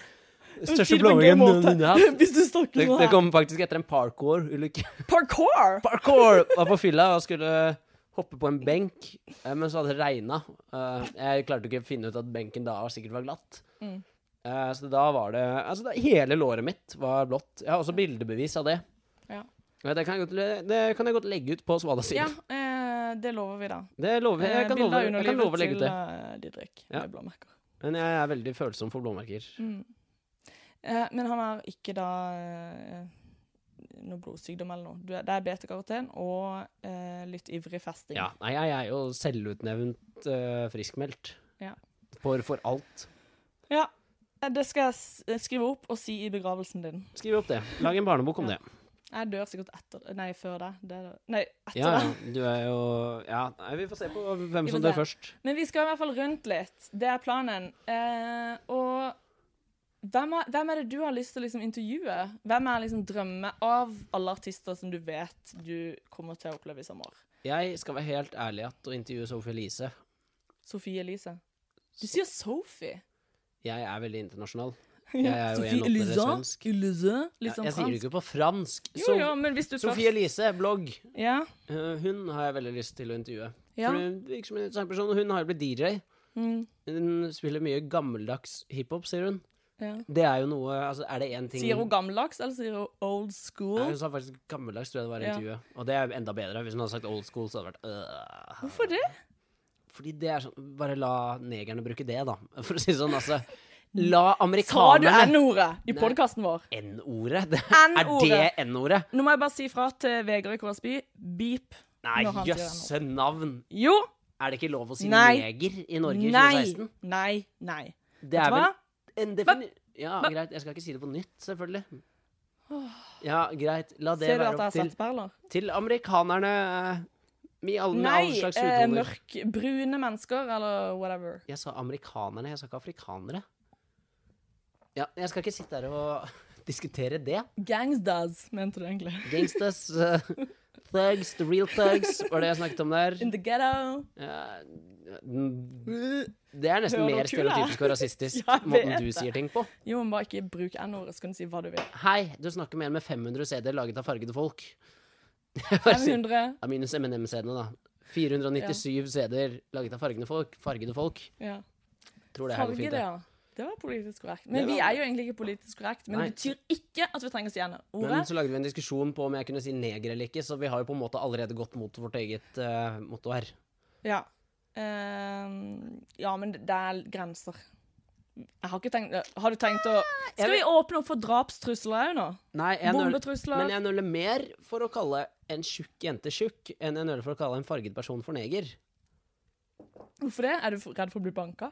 [SPEAKER 2] Si
[SPEAKER 1] Største
[SPEAKER 2] det på en
[SPEAKER 1] blåmerket
[SPEAKER 2] gøy
[SPEAKER 1] jeg
[SPEAKER 2] måte.
[SPEAKER 1] noensinne har hatt.
[SPEAKER 2] [LAUGHS] Hvis du snakker
[SPEAKER 1] Det,
[SPEAKER 2] sånn
[SPEAKER 1] det
[SPEAKER 2] her.
[SPEAKER 1] kom faktisk etter en parkour-ulykke. [LAUGHS]
[SPEAKER 2] Parkour!
[SPEAKER 1] Parkour! Var på fylla og skulle hoppe på en benk, eh, men så hadde det regna. Jeg klarte ikke å finne ut at benken da sikkert var glatt.
[SPEAKER 2] Mm.
[SPEAKER 1] Eh, Så da var det Altså, da, hele låret mitt var blått. Jeg har også bildebevis av det.
[SPEAKER 2] Ja.
[SPEAKER 1] Ja, Det kan jeg godt, le- det kan jeg godt legge ut på Svada sin.
[SPEAKER 2] Ja, eh, det lover vi, da. Eh,
[SPEAKER 1] Det lover jeg. Jeg kan, love, jeg kan love å legge ut det.
[SPEAKER 2] Didrik
[SPEAKER 1] Ja.
[SPEAKER 2] med blåmerker. Mm.
[SPEAKER 1] Men jeg er veldig følsom for blåmerker.
[SPEAKER 2] Eh, men han har ikke da eh, noe blodsykdom eller noe. Du er- Det er beta-karoten og eh, litt ivrig festing.
[SPEAKER 1] Ja, nei, jeg er jo selvutnevnt eh, friskmeldt.
[SPEAKER 2] Ja.
[SPEAKER 1] For, for alt.
[SPEAKER 2] Ja, eh, Det skal jeg s- skrive opp og si i begravelsen din.
[SPEAKER 1] Skriv opp det. Lag en barnebok om
[SPEAKER 2] Ja.
[SPEAKER 1] det.
[SPEAKER 2] Jeg dør sikkert etter Nei, før deg. Det er- Nei, etter
[SPEAKER 1] Ja,
[SPEAKER 2] deg.
[SPEAKER 1] ja, du er jo Ja, nei, vi får se på hvem
[SPEAKER 2] Vi
[SPEAKER 1] som
[SPEAKER 2] får
[SPEAKER 1] dør
[SPEAKER 2] se.
[SPEAKER 1] først.
[SPEAKER 2] Men vi skal i hvert fall rundt litt. Det er planen. Eh, og hvem er, hvem er det du har lyst til å liksom intervjue? Hvem er liksom drømme av alle artister som du vet du kommer til å oppleve i sommer?
[SPEAKER 1] Jeg skal være helt ærlig at å intervjue Sophie Elise
[SPEAKER 2] Sofie Elise. Du sier Sophie.
[SPEAKER 1] Jeg er veldig internasjonal.
[SPEAKER 2] Ja,
[SPEAKER 1] Jeg er jo
[SPEAKER 2] Sophie
[SPEAKER 1] en oppdretter
[SPEAKER 2] Elise,
[SPEAKER 1] svensk.
[SPEAKER 2] Elise,
[SPEAKER 1] Jeg,
[SPEAKER 2] litt sånn
[SPEAKER 1] jeg sier det
[SPEAKER 2] fransk.
[SPEAKER 1] ikke på fransk.
[SPEAKER 2] Jo, jo, men hvis du
[SPEAKER 1] Sophie Elise, blogg.
[SPEAKER 2] først Ja.
[SPEAKER 1] Eh, Hun har jeg veldig lyst til å intervjue.
[SPEAKER 2] ja.
[SPEAKER 1] For hun virker som en interessant person. og Hun har jo blitt DJ.
[SPEAKER 2] Mm,
[SPEAKER 1] Hun spiller mye gammeldags hiphop, sier hun.
[SPEAKER 2] ja.
[SPEAKER 1] Det er jo noe Altså, er det én ting
[SPEAKER 2] Sier hun gammeldags, eller sier hun old
[SPEAKER 1] Nei,
[SPEAKER 2] school?
[SPEAKER 1] Hun sa faktisk gammeldags, tror jeg det var i
[SPEAKER 2] Ja.
[SPEAKER 1] intervjuet. Og det er jo enda bedre. Hvis hun hadde sagt old school, så hadde det vært øh.
[SPEAKER 2] Hvorfor det?
[SPEAKER 1] Fordi det er sånn Bare la negerne bruke det, da. [LAUGHS] For å si det sånn, altså. La
[SPEAKER 2] Sa du
[SPEAKER 1] amerikanerne
[SPEAKER 2] N-ordet i
[SPEAKER 1] Nei.
[SPEAKER 2] podkasten vår?
[SPEAKER 1] N-ordet? E? Det- Er det
[SPEAKER 2] N-ordet!
[SPEAKER 1] N-ordet?
[SPEAKER 2] Nå må jeg bare si fra til Vegard i Kårsby. Beep.
[SPEAKER 1] Nei,
[SPEAKER 2] Når han sier
[SPEAKER 1] jøsse navn!
[SPEAKER 2] Jo!
[SPEAKER 1] Er det ikke lov å si
[SPEAKER 2] E. Nei.
[SPEAKER 1] neger i Norge i
[SPEAKER 2] Nei!
[SPEAKER 1] 2016?
[SPEAKER 2] Nei. Nei.
[SPEAKER 1] Det er
[SPEAKER 2] Hva?
[SPEAKER 1] vel en defini... Ja,
[SPEAKER 2] Hva?
[SPEAKER 1] greit. Jeg skal ikke si det på nytt, selvfølgelig. Ja, greit. La det
[SPEAKER 2] Ser du
[SPEAKER 1] være
[SPEAKER 2] at jeg
[SPEAKER 1] opp
[SPEAKER 2] har
[SPEAKER 1] til,
[SPEAKER 2] satt perler?
[SPEAKER 1] til amerikanerne. Med all, med all
[SPEAKER 2] Nei,
[SPEAKER 1] slags
[SPEAKER 2] eh,
[SPEAKER 1] hudtoner.
[SPEAKER 2] mørk, brune mennesker, eller whatever.
[SPEAKER 1] Jeg sa amerikanerne, jeg sa ikke afrikanere. Ja, jeg skal ikke sitte her og [LAUGHS] diskutere det.
[SPEAKER 2] Gangsters, mente du egentlig.
[SPEAKER 1] Gangsters, eh, thugs, the real thugs, var det jeg snakket om der.
[SPEAKER 2] In the ghetto.
[SPEAKER 1] Eh, det er nesten
[SPEAKER 2] Hører
[SPEAKER 1] mer
[SPEAKER 2] du kul, da?
[SPEAKER 1] stereotypisk og rasistisk
[SPEAKER 2] [LAUGHS] Ja, jeg
[SPEAKER 1] måten
[SPEAKER 2] vet
[SPEAKER 1] du
[SPEAKER 2] det.
[SPEAKER 1] sier ting på.
[SPEAKER 2] Jo, men bare ikke bruk n-ordet, så kan du si hva du vil.
[SPEAKER 1] Hei, du snakker mer med 500 CD-er laget av fargede folk. [LAUGHS] Bare si-
[SPEAKER 2] 500.
[SPEAKER 1] Ja, minus MNM-CD-ene, da. 497 CD-er laget av fargede folk. Fargede folk.
[SPEAKER 2] Ja.
[SPEAKER 1] Tror det her går
[SPEAKER 2] Farge,
[SPEAKER 1] fint.
[SPEAKER 2] det,
[SPEAKER 1] det.
[SPEAKER 2] ja. Det var politisk korrekt.
[SPEAKER 1] Det
[SPEAKER 2] Men vi
[SPEAKER 1] var-
[SPEAKER 2] er jo egentlig ikke politisk korrekt. Men
[SPEAKER 1] Nei.
[SPEAKER 2] det betyr ikke at vi trenger å si n-ordet.
[SPEAKER 1] Men så lagde vi en diskusjon på om jeg kunne si neger eller ikke, så vi har jo på en måte allerede gått mot vårt eget eh, motto her.
[SPEAKER 2] Ja. Ehm, ja, men det er grenser. Jeg har ikke tenkt Har du tenkt å Skal vi åpne opp for drapstrusler òg nå?
[SPEAKER 1] Nei, jeg nøler-
[SPEAKER 2] Bombetrusler.
[SPEAKER 1] Men jeg nøler mer for å kalle en tjukk jente tjukk, enn jeg nøler for å kalle en farget person for neger.
[SPEAKER 2] Hvorfor det? Er du f- redd for å bli banka?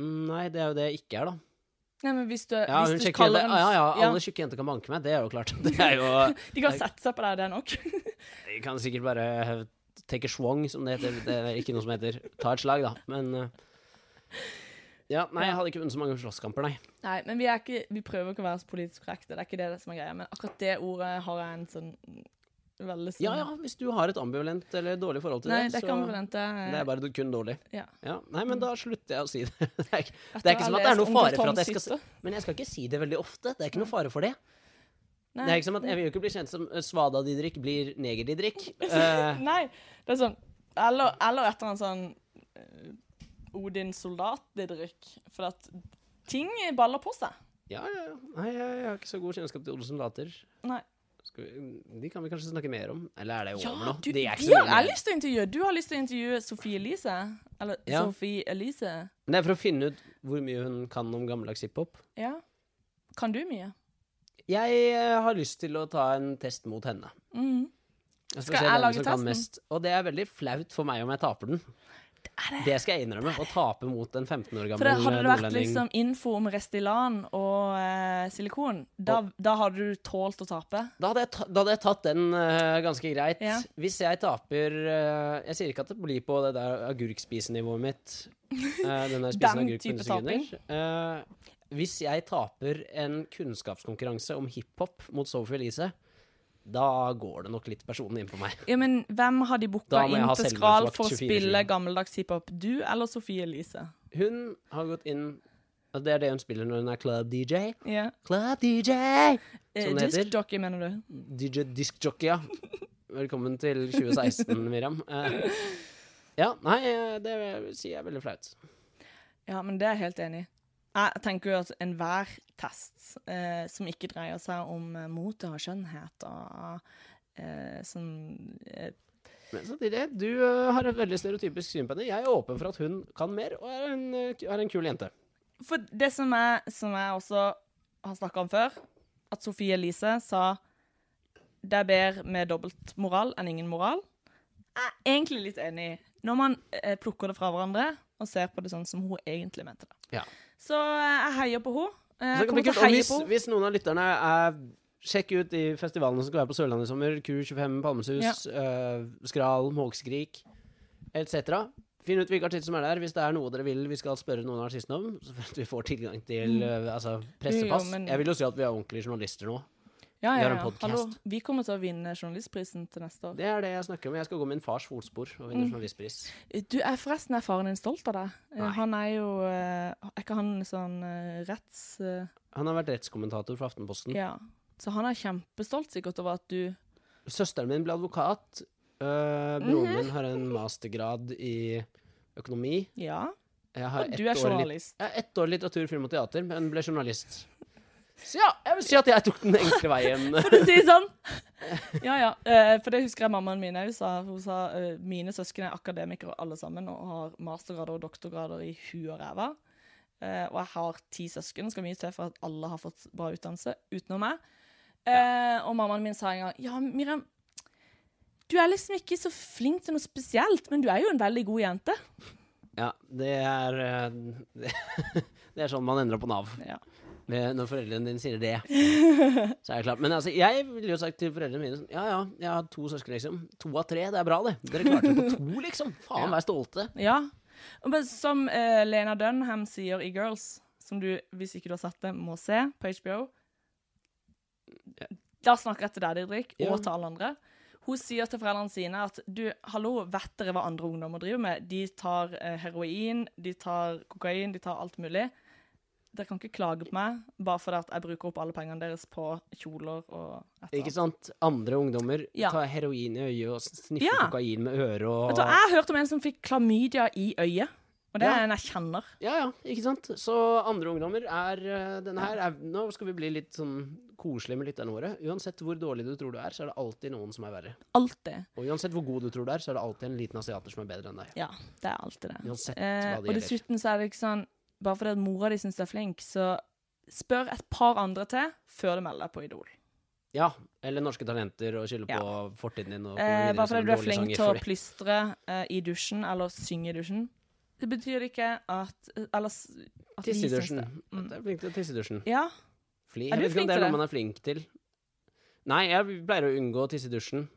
[SPEAKER 1] Mm, Nei, det er jo det jeg ikke er, da.
[SPEAKER 2] Nei, men hvis du,
[SPEAKER 1] Ja, hun
[SPEAKER 2] hvis du
[SPEAKER 1] sjekker det.
[SPEAKER 2] kaller en
[SPEAKER 1] Ja, ja,
[SPEAKER 2] ja,
[SPEAKER 1] alle tjukke jenter kan banke meg, det er jo klart. [LAUGHS] Det er jo
[SPEAKER 2] De kan sette seg på deg, det er nok.
[SPEAKER 1] Jeg kan sikkert bare take a swong, som det heter. Det er ikke noe som heter ta et slag, da. Men eh, Ja, nei, jeg hadde ikke vunnet så mange slåsskamper, nei.
[SPEAKER 2] [LAUGHS] Nei, men vi, er ikke, vi prøver ikke å være så politisk korrekte. Det er ikke det som er greia. Men akkurat det ordet har jeg en sånn veldig sånn
[SPEAKER 1] Ja ja, hvis du har et ambivalent eller dårlig forhold til
[SPEAKER 2] Nei,
[SPEAKER 1] det,
[SPEAKER 2] det er ikke ambivalent. Det er-
[SPEAKER 1] Det er bare kun dårlig.
[SPEAKER 2] Ja.
[SPEAKER 1] Nei, men da slutter jeg å si det. [LAUGHS] Det er ikke,
[SPEAKER 2] Etter
[SPEAKER 1] det er ikke
[SPEAKER 2] å ha
[SPEAKER 1] som at det er
[SPEAKER 2] lest
[SPEAKER 1] noe fare
[SPEAKER 2] Onkel
[SPEAKER 1] for at
[SPEAKER 2] Tom
[SPEAKER 1] jeg skal si
[SPEAKER 2] sitter.
[SPEAKER 1] Men jeg skal ikke si det veldig ofte. Det er ikke noe fare for det.
[SPEAKER 2] Nei.
[SPEAKER 1] Det er ikke som at Jeg vil jo ikke bli kjent som eh, Svada-Didrik blir Neger-Didrik.
[SPEAKER 2] [LAUGHS]
[SPEAKER 1] Eh,
[SPEAKER 2] Nei, det er sånn Eller, eller etter en sånn eh, Odin soldat Didrik For at ting baller på seg
[SPEAKER 1] ja, ja, ja. Nei, jeg, jeg har ikke så god kjennskap til Olsen Later.
[SPEAKER 2] Nei
[SPEAKER 1] Skal vi, mm, de kan vi kanskje snakke mer om. Eller er det
[SPEAKER 2] Ja,
[SPEAKER 1] over nå?
[SPEAKER 2] du,
[SPEAKER 1] de er
[SPEAKER 2] har
[SPEAKER 1] ikke så mye
[SPEAKER 2] jeg
[SPEAKER 1] mer.
[SPEAKER 2] lyst til å intervjue Du har lyst til å intervjue Sofie Elise Eller
[SPEAKER 1] Ja.
[SPEAKER 2] Sofie Elise
[SPEAKER 1] Men Det er for å finne ut hvor mye hun kan om gammeldags hiphop.
[SPEAKER 2] Ja Kan du mye?
[SPEAKER 1] Jeg eh, har lyst til å ta en test mot henne.
[SPEAKER 2] Mhm.
[SPEAKER 1] Jeg
[SPEAKER 2] Skal
[SPEAKER 1] se
[SPEAKER 2] jeg
[SPEAKER 1] hvem
[SPEAKER 2] lage
[SPEAKER 1] som kan
[SPEAKER 2] testen?
[SPEAKER 1] mest. Og det er veldig flaut for meg om jeg taper den. Det skal jeg innrømme. Å tape mot en 15 år
[SPEAKER 2] For det,
[SPEAKER 1] gammel eh,
[SPEAKER 2] hadde det vært
[SPEAKER 1] nordlending.
[SPEAKER 2] liksom info om Restylane og eh, silikon da, da hadde du tålt å tape
[SPEAKER 1] Da hadde, jeg ta, da hadde jeg tatt den eh, ganske greit.
[SPEAKER 2] Ja.
[SPEAKER 1] Hvis jeg taper eh, Jeg sier ikke at det blir på det der agurkspisenivået mitt. eh, den
[SPEAKER 2] [LAUGHS]
[SPEAKER 1] der spisen
[SPEAKER 2] Den
[SPEAKER 1] agurk på 100
[SPEAKER 2] type
[SPEAKER 1] sekunder. Eh, hvis jeg taper en kunnskapskonkurranse om hiphop mot Sophie Elise, da går det nok litt personen inn på meg.
[SPEAKER 2] Ja, men hvem har de
[SPEAKER 1] Da
[SPEAKER 2] boket
[SPEAKER 1] må jeg
[SPEAKER 2] inn
[SPEAKER 1] ha
[SPEAKER 2] til Skral
[SPEAKER 1] selvmordsvakt
[SPEAKER 2] For å
[SPEAKER 1] 24/7.
[SPEAKER 2] spille gammeldags hiphop Du eller Sofie Elise?
[SPEAKER 1] Hun har gått inn og Det er det hun spiller når hun er club-DJ.
[SPEAKER 2] Ja
[SPEAKER 1] Club-DJ!
[SPEAKER 2] Eh,
[SPEAKER 1] Som det Sånn heter.
[SPEAKER 2] Disc jockey, mener du?
[SPEAKER 1] DJ Diskjockey, ja. Velkommen til 2016, Miriam. Eh, ja, nei, eh, det vil jeg si er veldig flaut.
[SPEAKER 2] Ja, men det er jeg helt enig i. Jeg tenker jo at enhver test eh, som ikke dreier seg om eh, mote og skjønnhet og eh, sånn eh,
[SPEAKER 1] Men samtidig, du eh, har et veldig stereotypisk syn på henne. Jeg er åpen for at hun kan mer, og er en, eh, ku- er en kul jente.
[SPEAKER 2] For det som jeg, som jeg også har snakka om før, at Sofie Elise sa det er bedre med dobbeltmoral enn ingen moral. Jeg er egentlig litt enig i. Når man eh, plukker det fra hverandre og ser på det sånn som hun egentlig mente det.
[SPEAKER 1] Ja.
[SPEAKER 2] Så eh, jeg heier på henne. Eh,
[SPEAKER 1] Så
[SPEAKER 2] Jeg
[SPEAKER 1] det kan bli
[SPEAKER 2] kommer til
[SPEAKER 1] kult.
[SPEAKER 2] å
[SPEAKER 1] Og
[SPEAKER 2] heie
[SPEAKER 1] hvis,
[SPEAKER 2] på henne.
[SPEAKER 1] hvis noen av lytterne er Sjekk ut de festivalene som skal være på Sørlandet i sommer. Q25, Palmesus, eh, Skral, Måkeskrik etc. Finn ut hvilke artister som er der. Hvis det er noe dere vil vi skal spørre noen av artistene om, så [LAUGHS] for at vi får tilgang til eh, altså, pressepass.
[SPEAKER 2] Mm. Jo, jo, men-
[SPEAKER 1] Jeg vil jo si at vi er ordentlige journalister nå.
[SPEAKER 2] Ja,
[SPEAKER 1] Vi
[SPEAKER 2] ja,
[SPEAKER 1] har en
[SPEAKER 2] ja.
[SPEAKER 1] podcast.
[SPEAKER 2] Hallo, vi kommer til å vinne journalistprisen til neste år.
[SPEAKER 1] Det er det jeg snakker om. Jeg skal gå min fars fotspor og
[SPEAKER 2] Mm.
[SPEAKER 1] vinne journalistpris.
[SPEAKER 2] Du, er forresten er faren din stolt av deg. Eh,
[SPEAKER 1] Nei.
[SPEAKER 2] Han er jo eh, Er ikke han sånn eh, retts... eh,
[SPEAKER 1] Han har vært rettskommentator for Aftenposten.
[SPEAKER 2] ja. Så han er kjempestolt sikkert over at du
[SPEAKER 1] Søsteren min ble advokat. øh, broren
[SPEAKER 2] Mhm.
[SPEAKER 1] min har en mastergrad i økonomi.
[SPEAKER 2] Ja,
[SPEAKER 1] Jeg har
[SPEAKER 2] og
[SPEAKER 1] ett
[SPEAKER 2] du er
[SPEAKER 1] år, lit
[SPEAKER 2] journalist.
[SPEAKER 1] jeg har ett år litteratur, film og teater, men ble journalist. Så ja, jeg vil si at jeg tok den enkle
[SPEAKER 2] [LAUGHS]
[SPEAKER 1] veien.
[SPEAKER 2] For å si det sånn! Ja, ja. Eh, for det husker jeg mammaen min òg sa. Hun sa eh, mine søsken er akademikere alle sammen og har mastergrader og doktorgrader i huet og ræva. Eh, og jeg har ti søsken. Skal mye til for at alle har fått bra utdannelse, utenom meg. Eh, og mammaen min sa en gang Ja, Miriam, du er liksom ikke så flink til noe spesielt, men du er jo en veldig god jente.
[SPEAKER 1] eh, [LAUGHS] Ja, det er øh, Det er sånn man endrer på Nav.
[SPEAKER 2] Ja.
[SPEAKER 1] ved- når foreldrene dine sier det. Så er det klart. Men altså, jeg ville jo sagt til foreldrene mine sånn Ja ja, jeg har to søsken, liksom. To av tre, det er bra, det. Dere klarte det på
[SPEAKER 2] [LAUGHS]
[SPEAKER 1] to, liksom. Faen, vær stolte.
[SPEAKER 2] Ja. Men som eh, Lena Dunham sier i Girls, som du, hvis ikke du har sett det, må se på HBO Da snakker jeg til deg, Didrik, og
[SPEAKER 1] Ja.
[SPEAKER 2] til alle andre. Hun sier til foreldrene sine at du, hallo, vet dere hva andre ungdommer driver med? De tar eh, heroin, de tar kokain, de tar alt mulig. Dere kan ikke klage på meg bare fordi at jeg bruker opp alle pengene deres på kjoler og et eller
[SPEAKER 1] Ikke
[SPEAKER 2] annet.
[SPEAKER 1] sant? Andre ungdommer
[SPEAKER 2] Ja.
[SPEAKER 1] tar heroin i øyet og sniffer
[SPEAKER 2] Ja.
[SPEAKER 1] kokain med øret og
[SPEAKER 2] Vet du, hva, jeg hørte om en som fikk klamydia i øyet, og det
[SPEAKER 1] Ja.
[SPEAKER 2] er en jeg kjenner.
[SPEAKER 1] Ja, ja, ikke sant? Så andre ungdommer er eh, denne her. Er, nå skal vi bli litt sånn koselige med lytterne våre. Uansett hvor dårlig du tror du er, så er det alltid noen som er verre.
[SPEAKER 2] Alltid.
[SPEAKER 1] Og uansett hvor god du tror du er, så er det alltid en liten asiater som er bedre enn deg.
[SPEAKER 2] Ja, det er alltid det.
[SPEAKER 1] Uansett
[SPEAKER 2] Eh,
[SPEAKER 1] hva
[SPEAKER 2] og
[SPEAKER 1] det gjelder.
[SPEAKER 2] dessuten så er det ikke sånn Bare fordi at mora di syns du er flink, så spør et par andre til før du melder deg på Idol.
[SPEAKER 1] Ja, eller norske talenter og skylde på fortiden din og komme
[SPEAKER 2] Eh,
[SPEAKER 1] videre
[SPEAKER 2] bare
[SPEAKER 1] som
[SPEAKER 2] fordi du er
[SPEAKER 1] dårlig
[SPEAKER 2] flink
[SPEAKER 1] sanger,
[SPEAKER 2] til å
[SPEAKER 1] fordi-
[SPEAKER 2] plystre eh, i dusjen eller synge i dusjen, det betyr ikke at Eller s- at vi
[SPEAKER 1] Tisse i
[SPEAKER 2] syns
[SPEAKER 1] dusjen.
[SPEAKER 2] det. Mm.
[SPEAKER 1] Du er flink til å tisse i dusjen.
[SPEAKER 2] Ja.
[SPEAKER 1] Fli. Jeg
[SPEAKER 2] Er du
[SPEAKER 1] vet ikke om
[SPEAKER 2] flink
[SPEAKER 1] det er noe
[SPEAKER 2] til det?
[SPEAKER 1] man er flink til. Nei, jeg pleier å unngå å tisse i dusjen.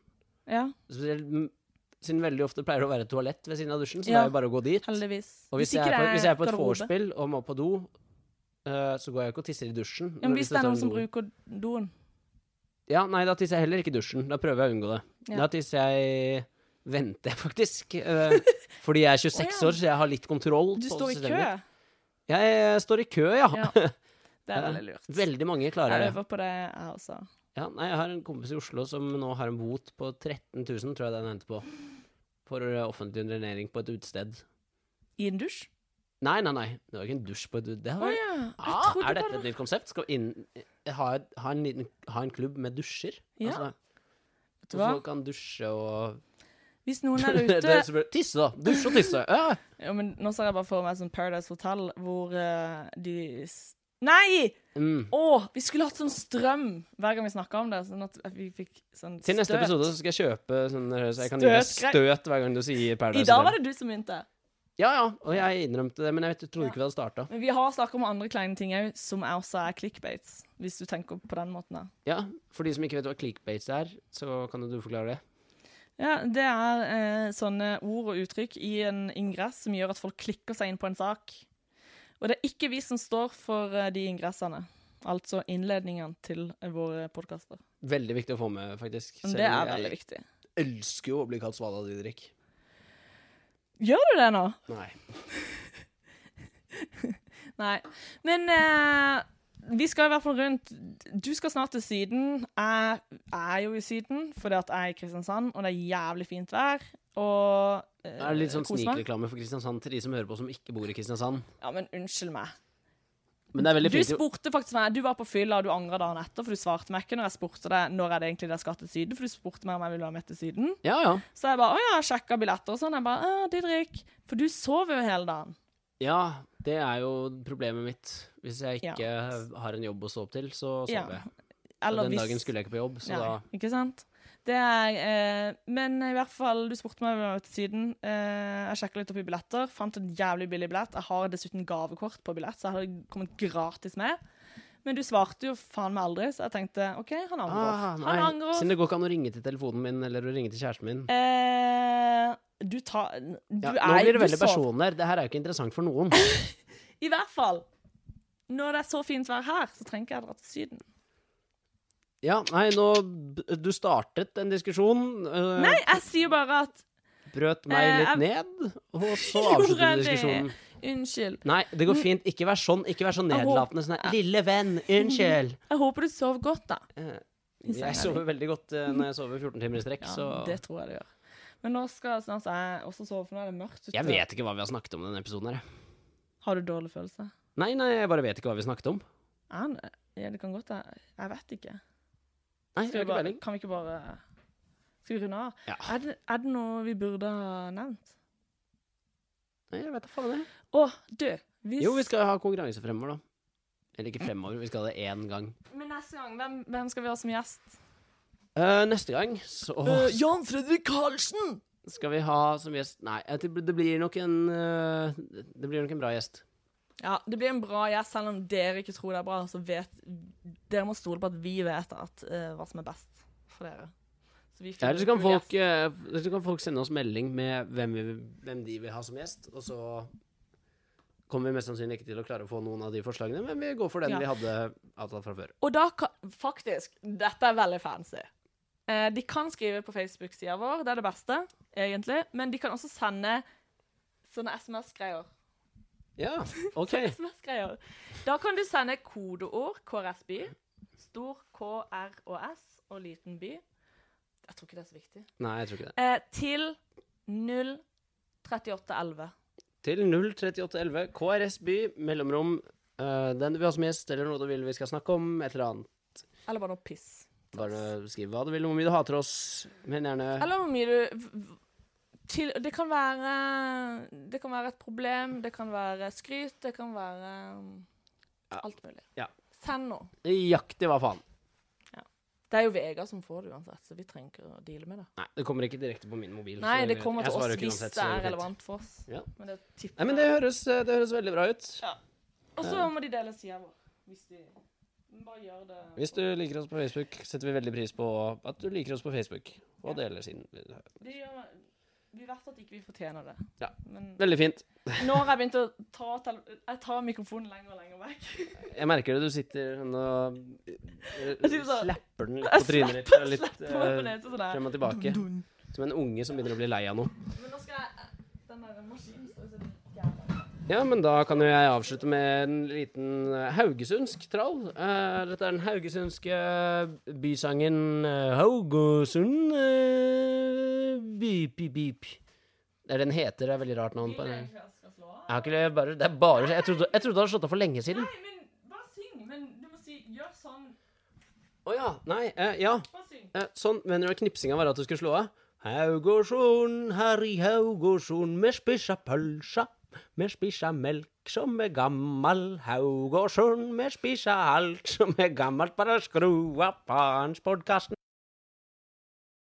[SPEAKER 2] ja
[SPEAKER 1] Spesielt m- siden veldig ofte pleier det å være et toalett ved siden av dusjen, så det er
[SPEAKER 2] Ja.
[SPEAKER 1] jo bare å gå dit.
[SPEAKER 2] heldigvis.
[SPEAKER 1] Og hvis, jeg
[SPEAKER 2] ikke
[SPEAKER 1] er, på,
[SPEAKER 2] det
[SPEAKER 1] hvis jeg er på et
[SPEAKER 2] garderobe.
[SPEAKER 1] vorspiel og må på do, eh, så går jeg ikke og tisser i dusjen.
[SPEAKER 2] ja, men
[SPEAKER 1] Men
[SPEAKER 2] Hvis det er
[SPEAKER 1] står
[SPEAKER 2] noen
[SPEAKER 1] en
[SPEAKER 2] som
[SPEAKER 1] do-
[SPEAKER 2] bruker doen
[SPEAKER 1] Ja, nei, da tisser jeg heller ikke i dusjen. Da prøver jeg å unngå det.
[SPEAKER 2] Ja.
[SPEAKER 1] Da tisser jeg Venter jeg faktisk.
[SPEAKER 2] [LAUGHS]
[SPEAKER 1] eh, fordi jeg er 26
[SPEAKER 2] Å, ja.
[SPEAKER 1] år, så jeg har litt kontroll.
[SPEAKER 2] Du
[SPEAKER 1] på
[SPEAKER 2] står i kø.
[SPEAKER 1] systemet mitt. Jeg står i kø, ja.
[SPEAKER 2] Ja, Det er veldig lurt.
[SPEAKER 1] [LAUGHS] Veldig mange klarer
[SPEAKER 2] Jeg
[SPEAKER 1] det.
[SPEAKER 2] øver på det, jeg altså. også.
[SPEAKER 1] Ja, nei, jeg har en kompis i Oslo som nå har en bot på 13 000, tror jeg den endte på. For eh, offentlig drenering på et utested.
[SPEAKER 2] I en dusj?
[SPEAKER 1] Nei, nei, nei. Det var ikke en dusj på et det
[SPEAKER 2] Å
[SPEAKER 1] var,
[SPEAKER 2] ja. Jeg
[SPEAKER 1] ah,
[SPEAKER 2] trodde
[SPEAKER 1] Er dette
[SPEAKER 2] bare
[SPEAKER 1] et nytt konsept? Skal vi inn, ha, et- ha, en liten, ha en klubb med dusjer?
[SPEAKER 2] Ja,
[SPEAKER 1] så
[SPEAKER 2] du hva?
[SPEAKER 1] folk kan dusje og
[SPEAKER 2] Hvis noen
[SPEAKER 1] [LAUGHS]
[SPEAKER 2] er
[SPEAKER 1] Det
[SPEAKER 2] ute
[SPEAKER 1] er så bra. Tisse, da! Dusje og tisse! Ja.
[SPEAKER 2] Ja, men nå ser jeg bare for meg sånn Paradise Hotel, hvor eh, de s- Nei!
[SPEAKER 1] Mm.
[SPEAKER 2] Å, vi skulle hatt sånn strøm hver gang vi snakka om det. Sånn at vi fikk sånn
[SPEAKER 1] Til neste
[SPEAKER 2] støt.
[SPEAKER 1] episode så skal jeg kjøpe sånn, så jeg kan gi deg
[SPEAKER 2] Støtgreier.
[SPEAKER 1] støt hver gang du sier Paradise
[SPEAKER 2] I dag var
[SPEAKER 1] Hotel.
[SPEAKER 2] det du som begynte.
[SPEAKER 1] Ja, ja. Og jeg innrømte det, men jeg vet- trodde ikke vi hadde starta.
[SPEAKER 2] Men vi har snakka om andre kleine ting òg, som er også er clickbates. Hvis du tenker på den måten. da.
[SPEAKER 1] Ja, for de som ikke vet hva clickbait er, så kan jo du forklare det.
[SPEAKER 2] Ja, Det er eh, sånne ord og uttrykk i en ingress som gjør at folk klikker seg inn på en sak. Og det er ikke vi som står for eh, de ingressene. Altså innledningene til eh, våre podkaster.
[SPEAKER 1] Veldig viktig å få med, faktisk.
[SPEAKER 2] Men det er veldig viktig.
[SPEAKER 1] Jeg elsker jo å bli kalt Svala Didrik.
[SPEAKER 2] Gjør du det nå?
[SPEAKER 1] Nei.
[SPEAKER 2] Nei. Men eh, vi skal i hvert fall rundt. Du skal snart til Syden. Jeg er jo i Syden fordi at jeg er i Kristiansand, og det er jævlig fint vær. Og uh,
[SPEAKER 1] Det er litt sånn snikreklame for Kristiansand til de som hører på som ikke bor i Kristiansand.
[SPEAKER 2] Ja, men unnskyld meg.
[SPEAKER 1] Men det er veldig
[SPEAKER 2] Du
[SPEAKER 1] fint jo.
[SPEAKER 2] spurte faktisk meg, du var på fylla og du angra dagen etter, for du svarte meg ikke når jeg spurte deg når er det egentlig dere skal til Syden. For du spurte meg om jeg ville være med til Syden.
[SPEAKER 1] Ja, ja.
[SPEAKER 2] Så jeg bare å ja, sjekka billetter og sånn. Jeg bare å, Didrik. For du sover jo hele dagen.
[SPEAKER 1] Ja, det er jo problemet mitt. Hvis jeg
[SPEAKER 2] Ja.
[SPEAKER 1] ikke har en jobb å stå opp til, så
[SPEAKER 2] Ja,
[SPEAKER 1] sover jeg. Og den dagen skulle jeg ikke på jobb, så
[SPEAKER 2] Nei,
[SPEAKER 1] da
[SPEAKER 2] Ikke sant? Det er, eh, men i hvert fall, du spurte meg om jeg var til Syden. Eh, jeg sjekka litt opp i billetter, fant en jævlig billig billett. Jeg har dessuten gavekort på billett, så jeg hadde kommet gratis med. Men du svarte jo faen meg aldri, så jeg tenkte OK, han angrer.
[SPEAKER 1] ah, Nei,
[SPEAKER 2] han angrer.
[SPEAKER 1] siden det går ikke an å ringe til telefonen min eller å ringe til kjæresten min.
[SPEAKER 2] Eh, du tar Du
[SPEAKER 1] Ja,
[SPEAKER 2] er
[SPEAKER 1] nå blir det
[SPEAKER 2] du
[SPEAKER 1] veldig
[SPEAKER 2] sov.
[SPEAKER 1] personlig her. Det her er jo ikke interessant for noen.
[SPEAKER 2] I hvert fall. Når det er så fint vær her, så trenger ikke jeg dra til Syden.
[SPEAKER 1] Ja, nei, nå b- Du startet en diskusjon. øh,
[SPEAKER 2] Nei, jeg sier bare at
[SPEAKER 1] brøt meg
[SPEAKER 2] Eh,
[SPEAKER 1] litt
[SPEAKER 2] jeg-
[SPEAKER 1] ned, og
[SPEAKER 2] [LAUGHS]
[SPEAKER 1] så
[SPEAKER 2] Gjorde
[SPEAKER 1] avsluttet
[SPEAKER 2] jeg
[SPEAKER 1] vi
[SPEAKER 2] det?
[SPEAKER 1] diskusjonen.
[SPEAKER 2] Unnskyld.
[SPEAKER 1] Nei, det går fint. Ikke vær sånn. Ikke vær så
[SPEAKER 2] Jeg
[SPEAKER 1] nedlatende. Sånn her, Lille venn, unnskyld.
[SPEAKER 2] Jeg håper du sover godt, da.
[SPEAKER 1] Eh,
[SPEAKER 2] I senga
[SPEAKER 1] Jeg sover veldig godt eh, når jeg sover 14 timer i strekk,
[SPEAKER 2] Ja,
[SPEAKER 1] så
[SPEAKER 2] det tror jeg det gjør. Men nå skal jeg snart jeg også sove, for nå er det mørkt ute.
[SPEAKER 1] Jeg vet ikke hva vi har snakket om i denne episoden her. jeg.
[SPEAKER 2] Har du dårlig følelse?
[SPEAKER 1] Nei, nei, jeg bare vet ikke hva vi snakket om.
[SPEAKER 2] Er han det? Ja, det kan godt være. Jeg vet ikke.
[SPEAKER 1] Nei, jeg har ikke
[SPEAKER 2] Skal vi bare,
[SPEAKER 1] peiling.
[SPEAKER 2] kan vi ikke bare Skal vi runde av?
[SPEAKER 1] Ja.
[SPEAKER 2] Er, det, er det noe vi burde ha nevnt?
[SPEAKER 1] Nei, jeg vet da faen jeg.
[SPEAKER 2] Å, du! Hvis,
[SPEAKER 1] Jo, vi skal ha konkurranse fremover, da. Eller ikke fremover, vi skal ha det én gang.
[SPEAKER 2] Men neste gang, hvem, hvem skal vi ha som gjest?
[SPEAKER 1] Eh, neste gang så
[SPEAKER 2] Eh, Jan Fredrik Karlsen!
[SPEAKER 1] skal vi ha som gjest Nei, jeg tror det blir nok en eh, Det blir nok en bra gjest.
[SPEAKER 2] Ja, det blir en bra gjest, selv om dere ikke tror det er bra. Så vet, dere må stole på at vi vet at, eh, hva som er best for dere. Så vi
[SPEAKER 1] Ja,
[SPEAKER 2] finner
[SPEAKER 1] eller så kan
[SPEAKER 2] en kul
[SPEAKER 1] folk,
[SPEAKER 2] gjest.
[SPEAKER 1] eh, eller så kan folk sende oss melding med hvem, vi, hvem de vil ha som gjest, og så kommer vi mest sannsynlig ikke til å klare å få noen av de forslagene, men vi går for den
[SPEAKER 2] Ja.
[SPEAKER 1] vi hadde avtalt fra før.
[SPEAKER 2] Og da kan Faktisk, dette er veldig fancy. Eh, de kan skrive på Facebook-sida vår, det er det beste, egentlig. Men de kan også sende sånne SMS-greier.
[SPEAKER 1] Ja,
[SPEAKER 2] [LAUGHS]
[SPEAKER 1] OK.
[SPEAKER 2] SMS-greier. Da kan du sende kodeord KRS-by. Stor K, R og S og liten by. Jeg tror ikke det er så viktig.
[SPEAKER 1] Nei, jeg tror ikke det.
[SPEAKER 2] Eh, til 03811.
[SPEAKER 1] Til 03811 KRS by, mellomrom, eh, den du vil ha som gjest, eller noe du vil vi skal snakke om, et eller annet.
[SPEAKER 2] Eller bare noe piss.
[SPEAKER 1] Bare skriv hva du vil, hvor mye du hater oss, men gjerne
[SPEAKER 2] Eller hvor mye du v- v- til, det, kan være, det kan være et problem, det kan være skryt, det kan være um,
[SPEAKER 1] Ja.
[SPEAKER 2] alt mulig.
[SPEAKER 1] Ja.
[SPEAKER 2] Send noe.
[SPEAKER 1] nøyaktig hva faen.
[SPEAKER 2] Det er jo Vegard som får det uansett, så vi trenger ikke å deale med det.
[SPEAKER 1] Nei, det kommer ikke direkte på min mobil.
[SPEAKER 2] Nei,
[SPEAKER 1] så
[SPEAKER 2] det kommer
[SPEAKER 1] jeg
[SPEAKER 2] til
[SPEAKER 1] svarer
[SPEAKER 2] oss
[SPEAKER 1] jo ikke
[SPEAKER 2] hvis
[SPEAKER 1] uansett,
[SPEAKER 2] det
[SPEAKER 1] så
[SPEAKER 2] er
[SPEAKER 1] fint.
[SPEAKER 2] relevant for oss.
[SPEAKER 1] Ja.
[SPEAKER 2] Men det tipper
[SPEAKER 1] Nei, men det høres, eh, det høres veldig bra ut.
[SPEAKER 2] Ja. Og så må de dele sida vår. Hvis de bare gjør det.
[SPEAKER 1] Hvis du liker oss på Facebook, setter vi veldig pris på at du liker oss på Facebook. Og deler sin
[SPEAKER 2] De gjør, vi vet at ikke vi fortjener det.
[SPEAKER 1] Ja.
[SPEAKER 2] Men
[SPEAKER 1] Veldig fint.
[SPEAKER 2] nå har jeg begynt å ta tele- Jeg tar mikrofonen lenger og lenger vekk.
[SPEAKER 1] Jeg merker det. Du sitter sånn og eh,
[SPEAKER 2] sitter sånn-
[SPEAKER 1] slapper den litt
[SPEAKER 2] Jeg
[SPEAKER 1] på trynet ditt.
[SPEAKER 2] slapper,
[SPEAKER 1] og Litt,
[SPEAKER 2] slapper meg på
[SPEAKER 1] eh,
[SPEAKER 2] nesa sånn her.
[SPEAKER 1] frem og tilbake. Som en unge som begynner å bli lei av noe.
[SPEAKER 2] Men nå skal jeg eh, Den der maskinen står så jævla
[SPEAKER 1] Ja, men da kan jo jeg avslutte med en liten eh, haugesundsk trall. Eh, dette er den haugesundske bysangen eh, Haugesund eh, Bip, bip, bip. Det er den heter. Det er veldig rart navn på den.
[SPEAKER 2] Jeg skal slå av.
[SPEAKER 1] Jeg har ikke det, bare, det er bare Jeg trodde, jeg trodde du hadde slått av for lenge siden.
[SPEAKER 2] Nei, men bare syng. Men du må si Gjør sånn.
[SPEAKER 1] Å ja. Nei. Eh, ja.
[SPEAKER 2] Bare syng.
[SPEAKER 1] Eh, sånn. Mener du at knipsinga var at du skulle slå av? Haugesund, her i Haugesund, vi spiser pølsa. Vi spiser melk som er gammal. Haugesund, vi spiser alt som er gammalt. Bare skru av faens podkasten.